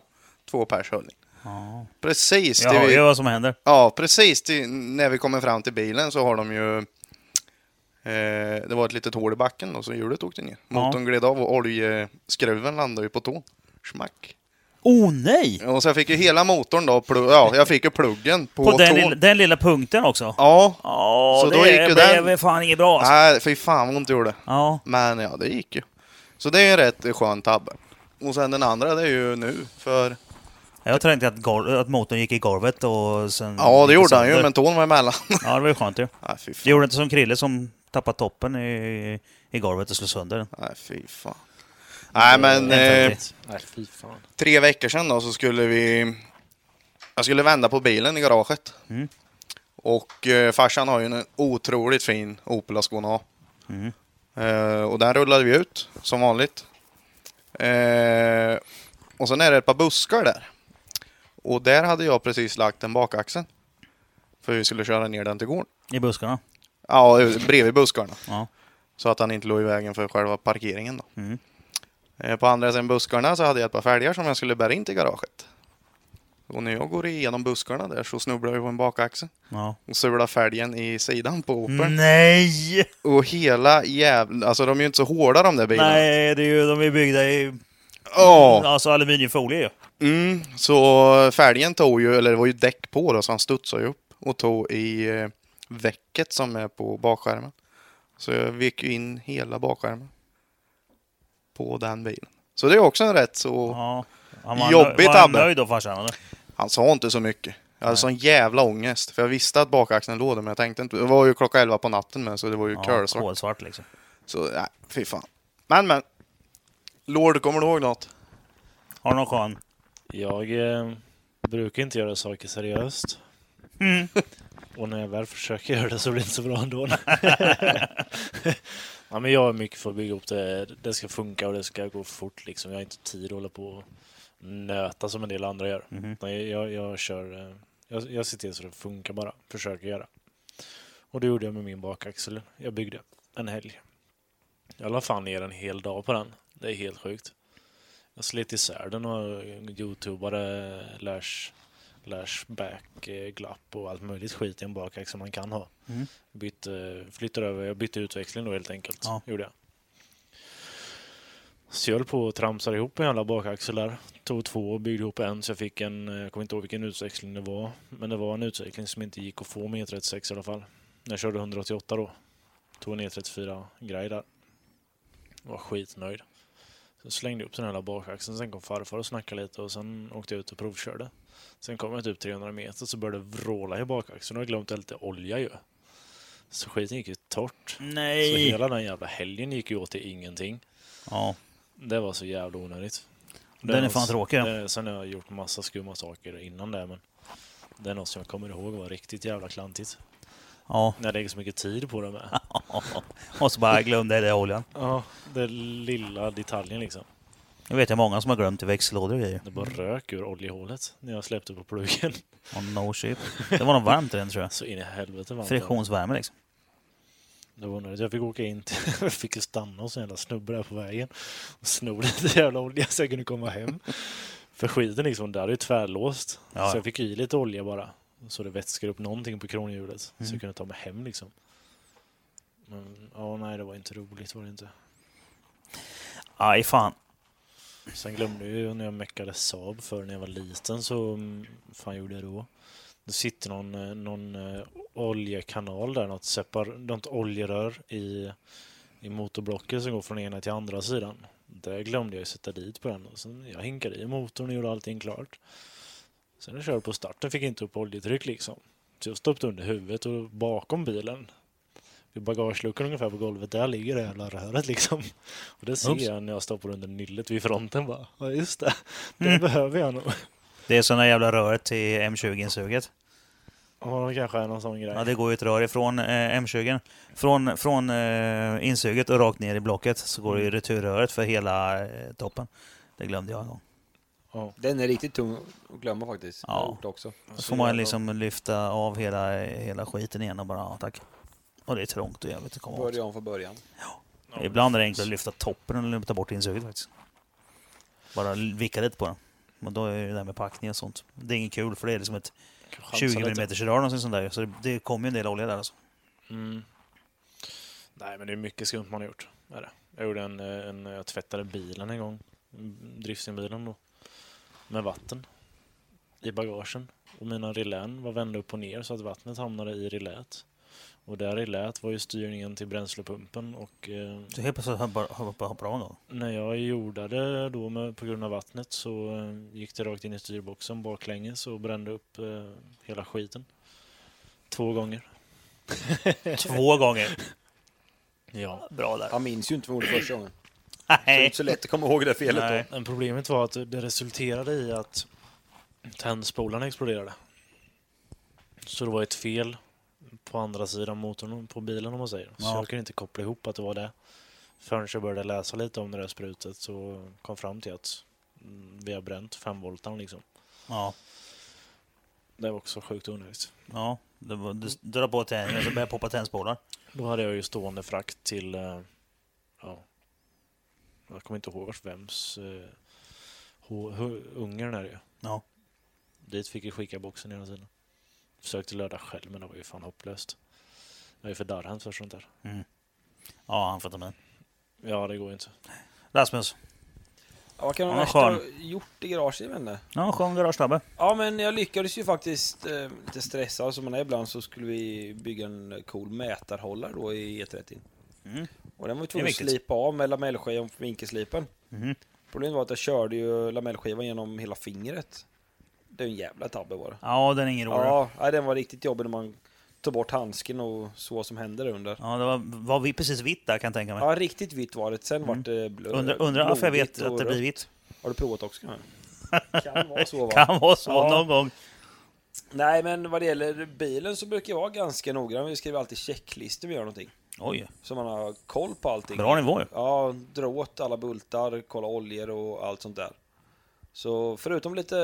D: Två pers höll i.
A: ja.
D: Precis,
A: Jag
D: till
A: hör
D: vi,
A: ju vad som händer.
D: ja, precis till, när vi kommer fram till bilen så har de ju... Eh, det var ett litet hål i backen och så hjulet åkte ner. Motorn gled av och oljeskruven landade ju på tån. Smack.
A: Oh nej!
D: Och så jag fick ju hela motorn då, plu- ja, jag fick ju pluggen på,
A: På den
D: tån.
A: lilla, den lilla punkten också.
D: Ja.
A: Ja,
D: Så
A: det
D: då gick ju
A: blev
D: den-
A: fan inget bra. Alltså.
D: Nej, fy fan vad ont det gjorde.
A: Ja.
D: Men ja, det gick ju. Så det är ju en rätt skön tabbe. Och sen den andra, det är ju nu.
A: Mm,
D: För
A: Jag tänkte att, gol- att motorn gick i golvet och sen...
D: ja, det
A: gick
D: gjorde han ju,
A: sönder.
D: men tån var emellan.
A: Ja, det var ju skönt ju.
D: Nej, fy fan.
A: Det gjorde inte som Krille som tappade toppen i, i golvet och slog sönder den.
D: Nej, fy fan. Nej, men eh,
B: Nej, fy fan.
D: tre veckor sedan då så skulle vi... Jag skulle vända på bilen i garaget.
A: Mm.
D: Och eh, farsan har ju en otroligt fin Opel Ascona A.
A: Mm.
D: Eh, och den rullade vi ut som vanligt. Eh, och sen är det ett par buskar där. Och där hade jag precis lagt en bakaxeln. För vi skulle köra ner den till gården.
A: I buskarna.
D: Ja, eh, bredvid buskarna.
A: Ja.
D: Så att han inte låg i vägen för själva parkeringen då.
A: Mm.
D: Eh, På andra sidan buskarna så hade jag ett par fälgar som jag skulle bära in till garaget. Och när jag går igenom buskarna där så snubblar jag på en bakaxel
A: Ja.
D: och sular fälgen i sidan på Opeln.
A: Mm. Nej!
D: Och hela jävla... Alltså de är ju inte så hårda de där bilarna.
A: Nej, det är ju, de är byggda i
D: Ja.
A: alltså aluminiumfolie ju.
D: Mm, så fälgen tog ju, eller det var ju däck på då, så han studsade ju upp och tog i eh, väcket som är på bakskärmen. Så jag vek ju in hela bakskärmen på den bilen. Så det är också en rätt så...
A: Ja. Han
D: Oh. Jobbigt,
A: var han
D: Abbe.
A: nöjd då farsan? eller?
D: Han sa inte så mycket. Jag hade sån jävla ångest, för jag visste att bakaxeln låg där, men jag tänkte inte... Det var ju klockan 11 på natten med, så det var ju
A: Ja,
D: kölsvart.
A: kolsvart liksom.
D: Så nej, fy fan. Men men. Lord, kommer du ihåg något?
A: Har du någon skön?
B: Jag eh, brukar inte göra saker seriöst.
A: Mm.
B: Och när jag väl försöker göra det så blir det inte så bra ändå. ja, men jag är mycket för att bygga upp det. Det ska funka och det ska gå fort. Liksom. Jag har inte tid att hålla på och nöta som en del andra gör.
A: Mhm.
B: Nej, jag, jag, kör, eh, jag, jag ser till så det funkar bara. Försöker göra. Och det gjorde jag med min bakaxel. Jag byggde en helg. Jag la fan ner en hel dag på den. Det är helt sjukt. Jag slet isär den och youtubade lash, lashback, eh, glapp och allt möjligt skit i en bakaxel man kan ha.
A: Mm.
B: Bytte, flyttade över, jag bytte utväxling då helt enkelt.
A: Ja.
B: Gjorde jag. Så jag höll på och tramsade ihop en jävla bakaxel där. Tog två och byggde ihop en så jag fick en, eh, jag kommer inte ihåg vilken utväxling det var. Men det var en utväxling som inte gick att få med E36 i alla fall. Jag körde 188 då. Tog en E34-grej där. Var skitnöjd. Så slängde jag upp den hela bakaxeln, sen kom farfar och snackade lite och sen åkte jag ut och provkörde. Sen kom jag typ 300 meter så började det vråla i bakaxeln och jag glömt lite olja ju. Så skiten gick ju torrt. Så
A: Nej!
B: hela den jävla helgen gick ju åt till ingenting.
A: Ja,
B: Det var så jävla onödigt.
A: Den är
B: något-
A: fan tråkig, ja.
B: det- Eh, Sen har jag gjort massa skumma saker innan det men det är något som jag kommer ihåg var riktigt jävla klantigt.
A: Ja.
B: När det lägger så mycket tid på det med.
A: Och så bara glömde det i oljan.
B: Ja, den lilla detaljen liksom.
A: Jag vet jag många som har glömt i växellådor och grejer.
B: Det bara rök ur oljehålet när jag släppte på pluggen.
A: Oh, no shit. Det var något varmt i den tror jag.
B: Så in i helvete varmt.
A: Friktionsvärme liksom.
B: Det var onödigt. Jag fick åka in till... Jag fick ju stanna hos en jävla snubbe där på vägen. Och snor lite jävla olja så jag kunde komma hem. För skiten liksom, där är ju tvärlåst.
A: Ja.
B: Så jag fick i lite olja bara. Så det vätskar upp någonting på kronhjulet. Så jag kunde ta mig hem liksom. Men ja, nej, det var inte roligt var det inte.
A: Aj fan.
B: Sen glömde jag ju när jag meckade Saab för när jag var liten så mm, fan gjorde jag då? Det sitter någon, eh, någon eh, oljekanal där, något, separ, något oljerör i, i motorblocket som går från ena till andra sidan. Det glömde jag ju sätta dit på den och sen jag hinkade i motorn och gjorde allting klart. Sen när jag körde på starten fick jag inte upp oljetryck liksom. Så jag stoppade under huvudet och bakom bilen. Vid bagageluckan ungefär på golvet, där ligger det jävla röret liksom. Och det ser
A: Oops.
B: jag när jag stoppar under nyllet vid fronten bara. Ja just det, det behöver jag nog.
A: Det är såna jävla röret till M20-insuget.
B: Ja, det kanske är någon sån grej.
A: Ja, det går ju ett rör ifrån eh, M20. Från, från eh, insuget och rakt ner i blocket så går det ju returröret för hela eh, toppen. Det glömde jag en gång.
B: Ja.
C: Den är riktigt tung att glömma faktiskt. Jag har
A: Ja.
C: gjort det också.
A: Så får man liksom lyfta av hela, eh, hela skiten igen och bara ja, tack. Och det är trångt och jävligt att komma åt.
C: Börja om från början.
A: Ibland är det enklare att lyfta toppen än att lyfta bort insuget faktiskt. Bara vicka lite på den. Men då är det där med packning och sånt. Det är inget kul för det är liksom ett
B: Chansa
A: 20
B: lite.
A: mm rör någonsin sånt där. Så det, det kommer ju en del olja där alltså.
B: Mm. Nej, men det är mycket skumt man har gjort. Är det. Jag, gjorde en, eh, en, jag tvättade bilen en gång, Mm, driftsinbilen då, med vatten i bagagen. Och mina relän var vända upp och ner så att vattnet hamnade i relät. Och där relät var ju styrningen till bränslepumpen och eh,
A: Så helt plötsligt hoppar hoppar- hoppar av en gång.
B: när jag jordade då med, på grund av vattnet så eh, gick det rakt in i styrboxen baklänges och brände upp eh, hela skiten. Två gånger.
A: Två gånger.
B: Ja.
A: Bra där.
C: Han minns ju inte vad han gjorde första gången. Så Det är
A: Nej.
C: inte så lätt att komma ihåg det felet
A: Nej.
B: Men problemet var att det resulterade i att tändspolarna exploderade. Så det var ett fel på andra sidan motorn på bilen om man säger. Så
A: Ja.
B: jag kunde inte koppla ihop att det var det. Förrän jag började läsa lite om det där sprutet så kom fram till att mm, vi har bränt 5 voltan liksom.
A: Ja.
B: Det var också sjukt onödigt.
A: ja. Det var- Du drar på tändningen och så börjar poppa tändspolar.
B: Då hade jag ju stående frakt till, eh, ja, jag kommer inte ihåg vart vems, eh, ho- ho- Ungern är det ju.
A: Ja.
B: Dit fick jag skicka boxen hela tiden. Försökte löda själv men det var ju fan hopplöst. Jag är ju för darrhänt för sånt där.
A: Ja, han fattar mig.
B: Ja, det går ju inte.
A: Rasmus.
C: Ja, vad kan
A: Ja,
C: man värsta
A: skön.
C: ha gjort i garaget? jag vet inte.
A: Ja, skön garagestabbe.
C: Ja, men jag lyckades ju faktiskt, eh, lite stressad som man är ibland, så skulle vi bygga en cool mätarhållare då i E30.
A: Mm.
C: Och den var vi tvungna att
A: viktigt.
C: slipa av med lamellskivan från vinkelslipen.
A: Mhm.
C: Problemet var att jag körde ju lamellskivan genom hela fingret. Det är ju en jävla tabbe var det.
A: Ja, den är ingen rolig. Ja.
C: Ja, nej, den var riktigt jobbig när man tog bort handsken och så vad som hände där under.
A: det var, var vi precis vitt där kan jag tänka mig.
C: Ja, riktigt vitt var det. Sen vart det blö-
A: Undrar Mm. undra varför jag vet
C: blodigt och
A: att det
C: rött.
A: blir vitt.
C: Har du provat också kanske? Kan vara så va?
A: Kan vara så
C: Ja.
A: någon gång.
C: Nej, men vad det gäller bilen så brukar jag vara ganska noggrann. Vi skriver alltid checklistor när vi gör någonting.
A: Oj,
C: Så man har koll på allting.
A: bra nivå ju.
C: Ja, dra åt alla bultar, kolla oljor och allt sånt där. Så förutom lite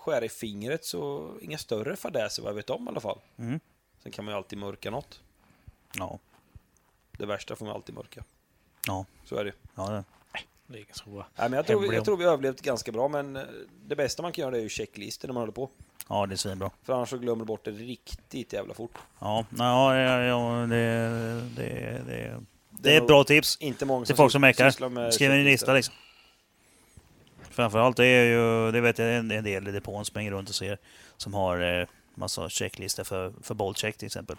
C: skär i fingret så inga större fadäser vad jag vet om i alla fall.
A: Mm.
C: Sen kan man ju alltid mörka något.
A: Ja,
C: Det värsta får man alltid mörka.
A: Ja.
C: Så är det.
A: ja det.
B: Det är ingen så bra.
C: Nej, men jag, tror vi,
B: Hemlig om.
C: jag tror vi överlevt ganska bra, men eh, det bästa man kan göra det är ju checklistor när man håller på.
A: ja, det är svinbra.
C: För annars så glömmer du bort det riktigt jävla fort.
A: Ja, ja, ja, ja det, det, det, det är
C: nog
A: ett bra tips
C: Inte många
A: till folk som mekar.
C: sysslar med
A: Skriv en
C: checklistor.
A: lista liksom. Framförallt det är ju, det vet jag en, en del i depån springer runt och ser som har eh, massa checklistor för, för bollcheck till exempel.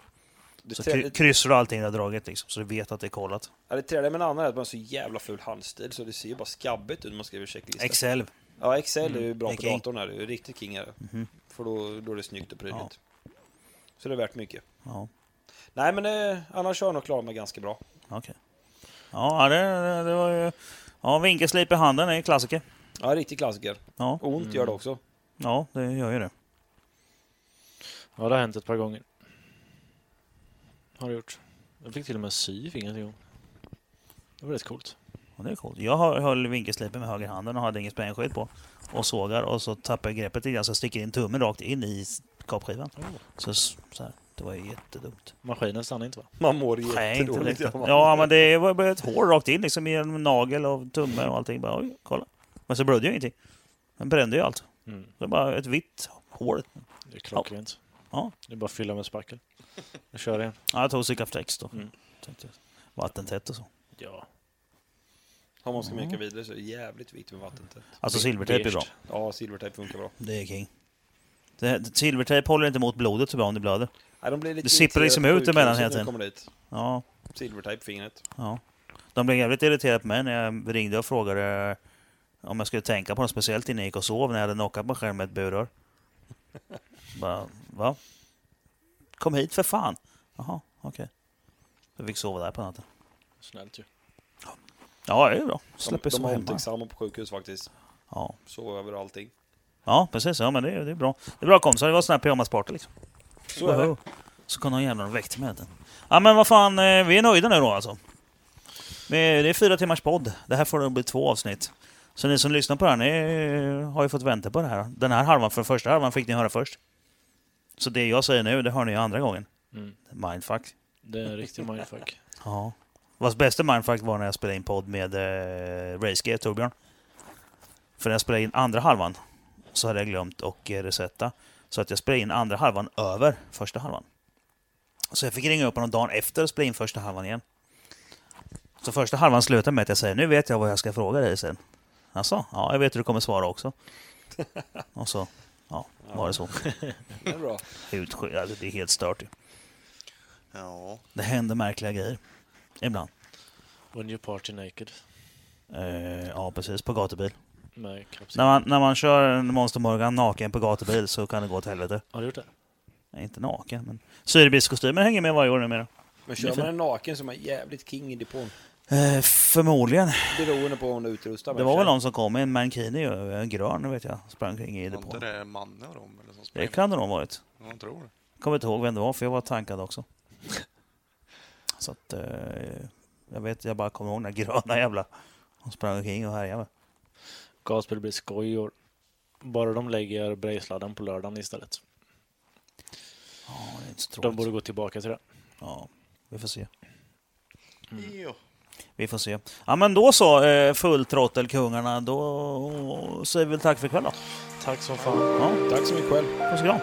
C: Det,
A: liksom, Så
C: trä-
A: kry, kryssar du allting du har dragit liksom, så du vet att det är kollat.
C: ja, det träliga med en annan är att man har så jävla ful handstil så det ser ju bara skabbigt ut när man skriver checklista.
A: Excel.
C: ja, Excel är ju bra
A: Mm, det Mhm. är
C: på
A: king.
C: datorn här. Det är ju riktigt king här. För då, då är det snyggt och prydligt. Så det är värt mycket.
A: Ja,
C: Nej, men eh, annars har jag nog klarat mig ganska bra.
A: okej. Ja, det, det, det var ju... Ja, vinkelslip i handen är en klassiker.
C: Ja, riktig klassiker.
A: Ja,
C: Ont gör det också.
A: ja, det gör ju det.
B: Ja, det har hänt ett par gånger. har det gjort. Jag fick till och med sy fingret en gång. Det var rätt coolt.
A: Och det är coolt. Jag har- höll vinkelslipen med högerhanden och hade ingen sprängskydd på. Och sågar och så tappade jag greppet lite grann så jag sticker in tummen rakt in i s- kapskivan. Så, s- så här. Det var ju jättedumt.
B: Maskinen stannade inte va?
E: Man mår
A: Nej, inte
E: jättedåligt.
A: riktigt.
E: gör man.
A: Ja, men det var bara ett hår rakt in liksom i en nagel och tumme och allting. Bara, oj, kolla. Men så blödde jag ingenting. Den brände ju allt.
B: Mm.
A: Det var bara ett vitt hål.
B: Det är klockrent.
A: Ja.
B: Det är bara att fylla med spackel. Jag kör igen.
A: Ja, jag tog Sikaftex då.
B: Mm.
A: Tänkte jag. Vattentätt och så.
B: Ja.
E: Om man ska meka
A: Mm.
E: vidare så är det jävligt viktigt med vattentätt.
A: Alltså silvertejp är bra.
E: Ja, silvertejp funkar bra.
A: Det är king. Det, silvertejp håller inte emot blodet så bra om det blöder.
E: Nej, de blir lite
A: Det sipprar liksom
E: irriterade på
A: ut emellan
E: sjukhuset
A: hela
E: när de
A: tiden.
E: kommer dit.
A: Ja,
E: Silvertejp, fingret.
A: ja. De blev jävligt irriterade på mig när jag ringde och frågade om jag skulle tänka på dem speciellt innan jag gick och sov när jag hade knockat mig själv med ett burrör. Bara, va? Kom hit för fan! Jaha, okej. Jag fick sova där på natten.
B: Snällt ju.
A: Ja, det är bra.
E: De,
A: Släpper
E: de
A: sova
E: har
A: hemma.
E: omtänksamma på sjukhus faktiskt.
A: Ja.
E: Sover över allting.
A: ja, precis. Ja, men det, är- det är bra. Det är bra kompisar. Det var såna här pyjamasparty liksom.
E: Så är det.
A: Så kom någon jävla och väckte mig. Ja men vad fan, eh, vi är nöjda nu då alltså. Men Det är fyra timmars podd. Det här får nog bli två avsnitt. Så ni som lyssnar på det här, ni eh, har ju fått vänta på det här. Den här halvan, för första halvan fick ni höra först. Så det jag säger nu, det hör ni ju andra gången.
B: Mm.
A: Mindfuck.
B: Det är en riktig mindfuck.
A: Ja. Vars bästa mindfuck var när jag spelade in podd med eh, Racegear, Torbjörn. För när jag spelade in andra halvan så hade jag glömt och eh, resetta. Så att jag spelade in andra halvan över första halvan. Så jag fick ringa upp honom dagen efter och spela in första halvan igen. Så första halvan slutar med att jag säger nu vet jag vad jag ska fråga dig sen. Alltså, ja, jag vet hur du kommer svara också. Och så, ja, var det så.
E: Det är bra.
A: Utsky- alltså, det är helt stört ju.
D: Ja.
A: Det händer märkliga grejer. Ibland.
B: When you party naked.
A: Eh, ja, precis. På gatubil.
B: Med kapsel.
A: När man, när man kör en Monster Morgan naken på gatubil så kan det gå åt helvete.
B: Har du gjort det?
A: Nej, inte naken, men syrebristkostymen hänger med varje år numera.
E: Men kör man en naken så är man jävligt king i depån.
A: Eh, förmodligen.
E: Beroende på om du utrustar
A: Det var väl någon som kom i en mankini, ju, en grön vet jag, sprang kring i
D: Var inte
A: depån.
D: det Manne och dem? Eller som
A: Det
D: sprang?
A: kan det nog ha varit.
D: Jag tror det.
A: Kommer inte ihåg vem det var, för jag var tankad också. Så att... Eh, jag vet, jag bara kommer ihåg den där gröna jävla... Hon sprang omkring och härjade.
B: Gasbil blir skoj i år. Bara de lägger brejsladden på lördagen istället.
A: Ja, det är inte så
B: De
A: tråkigt.
B: borde gå tillbaka till det.
A: Ja, vi får se.
D: Jo.
A: Vi får se. Ja, men då så, eh, fulltrottelkungarna. Då säger vi väl tack för ikväll då.
B: Tack som fan.
A: Ja,
E: Tack så mycket själv.
A: puss och kram.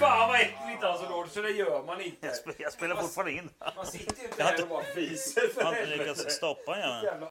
E: Fan vad äckligt alltså Lord, så det gör man inte.
A: Jag spelar fortfarande in.
E: Man sitter ju inte
A: Jag har
E: här
A: inte-
E: och bara fiser för
A: Jag har inte
E: helvete.
A: lyckats stoppa den jäveln.
E: Jävla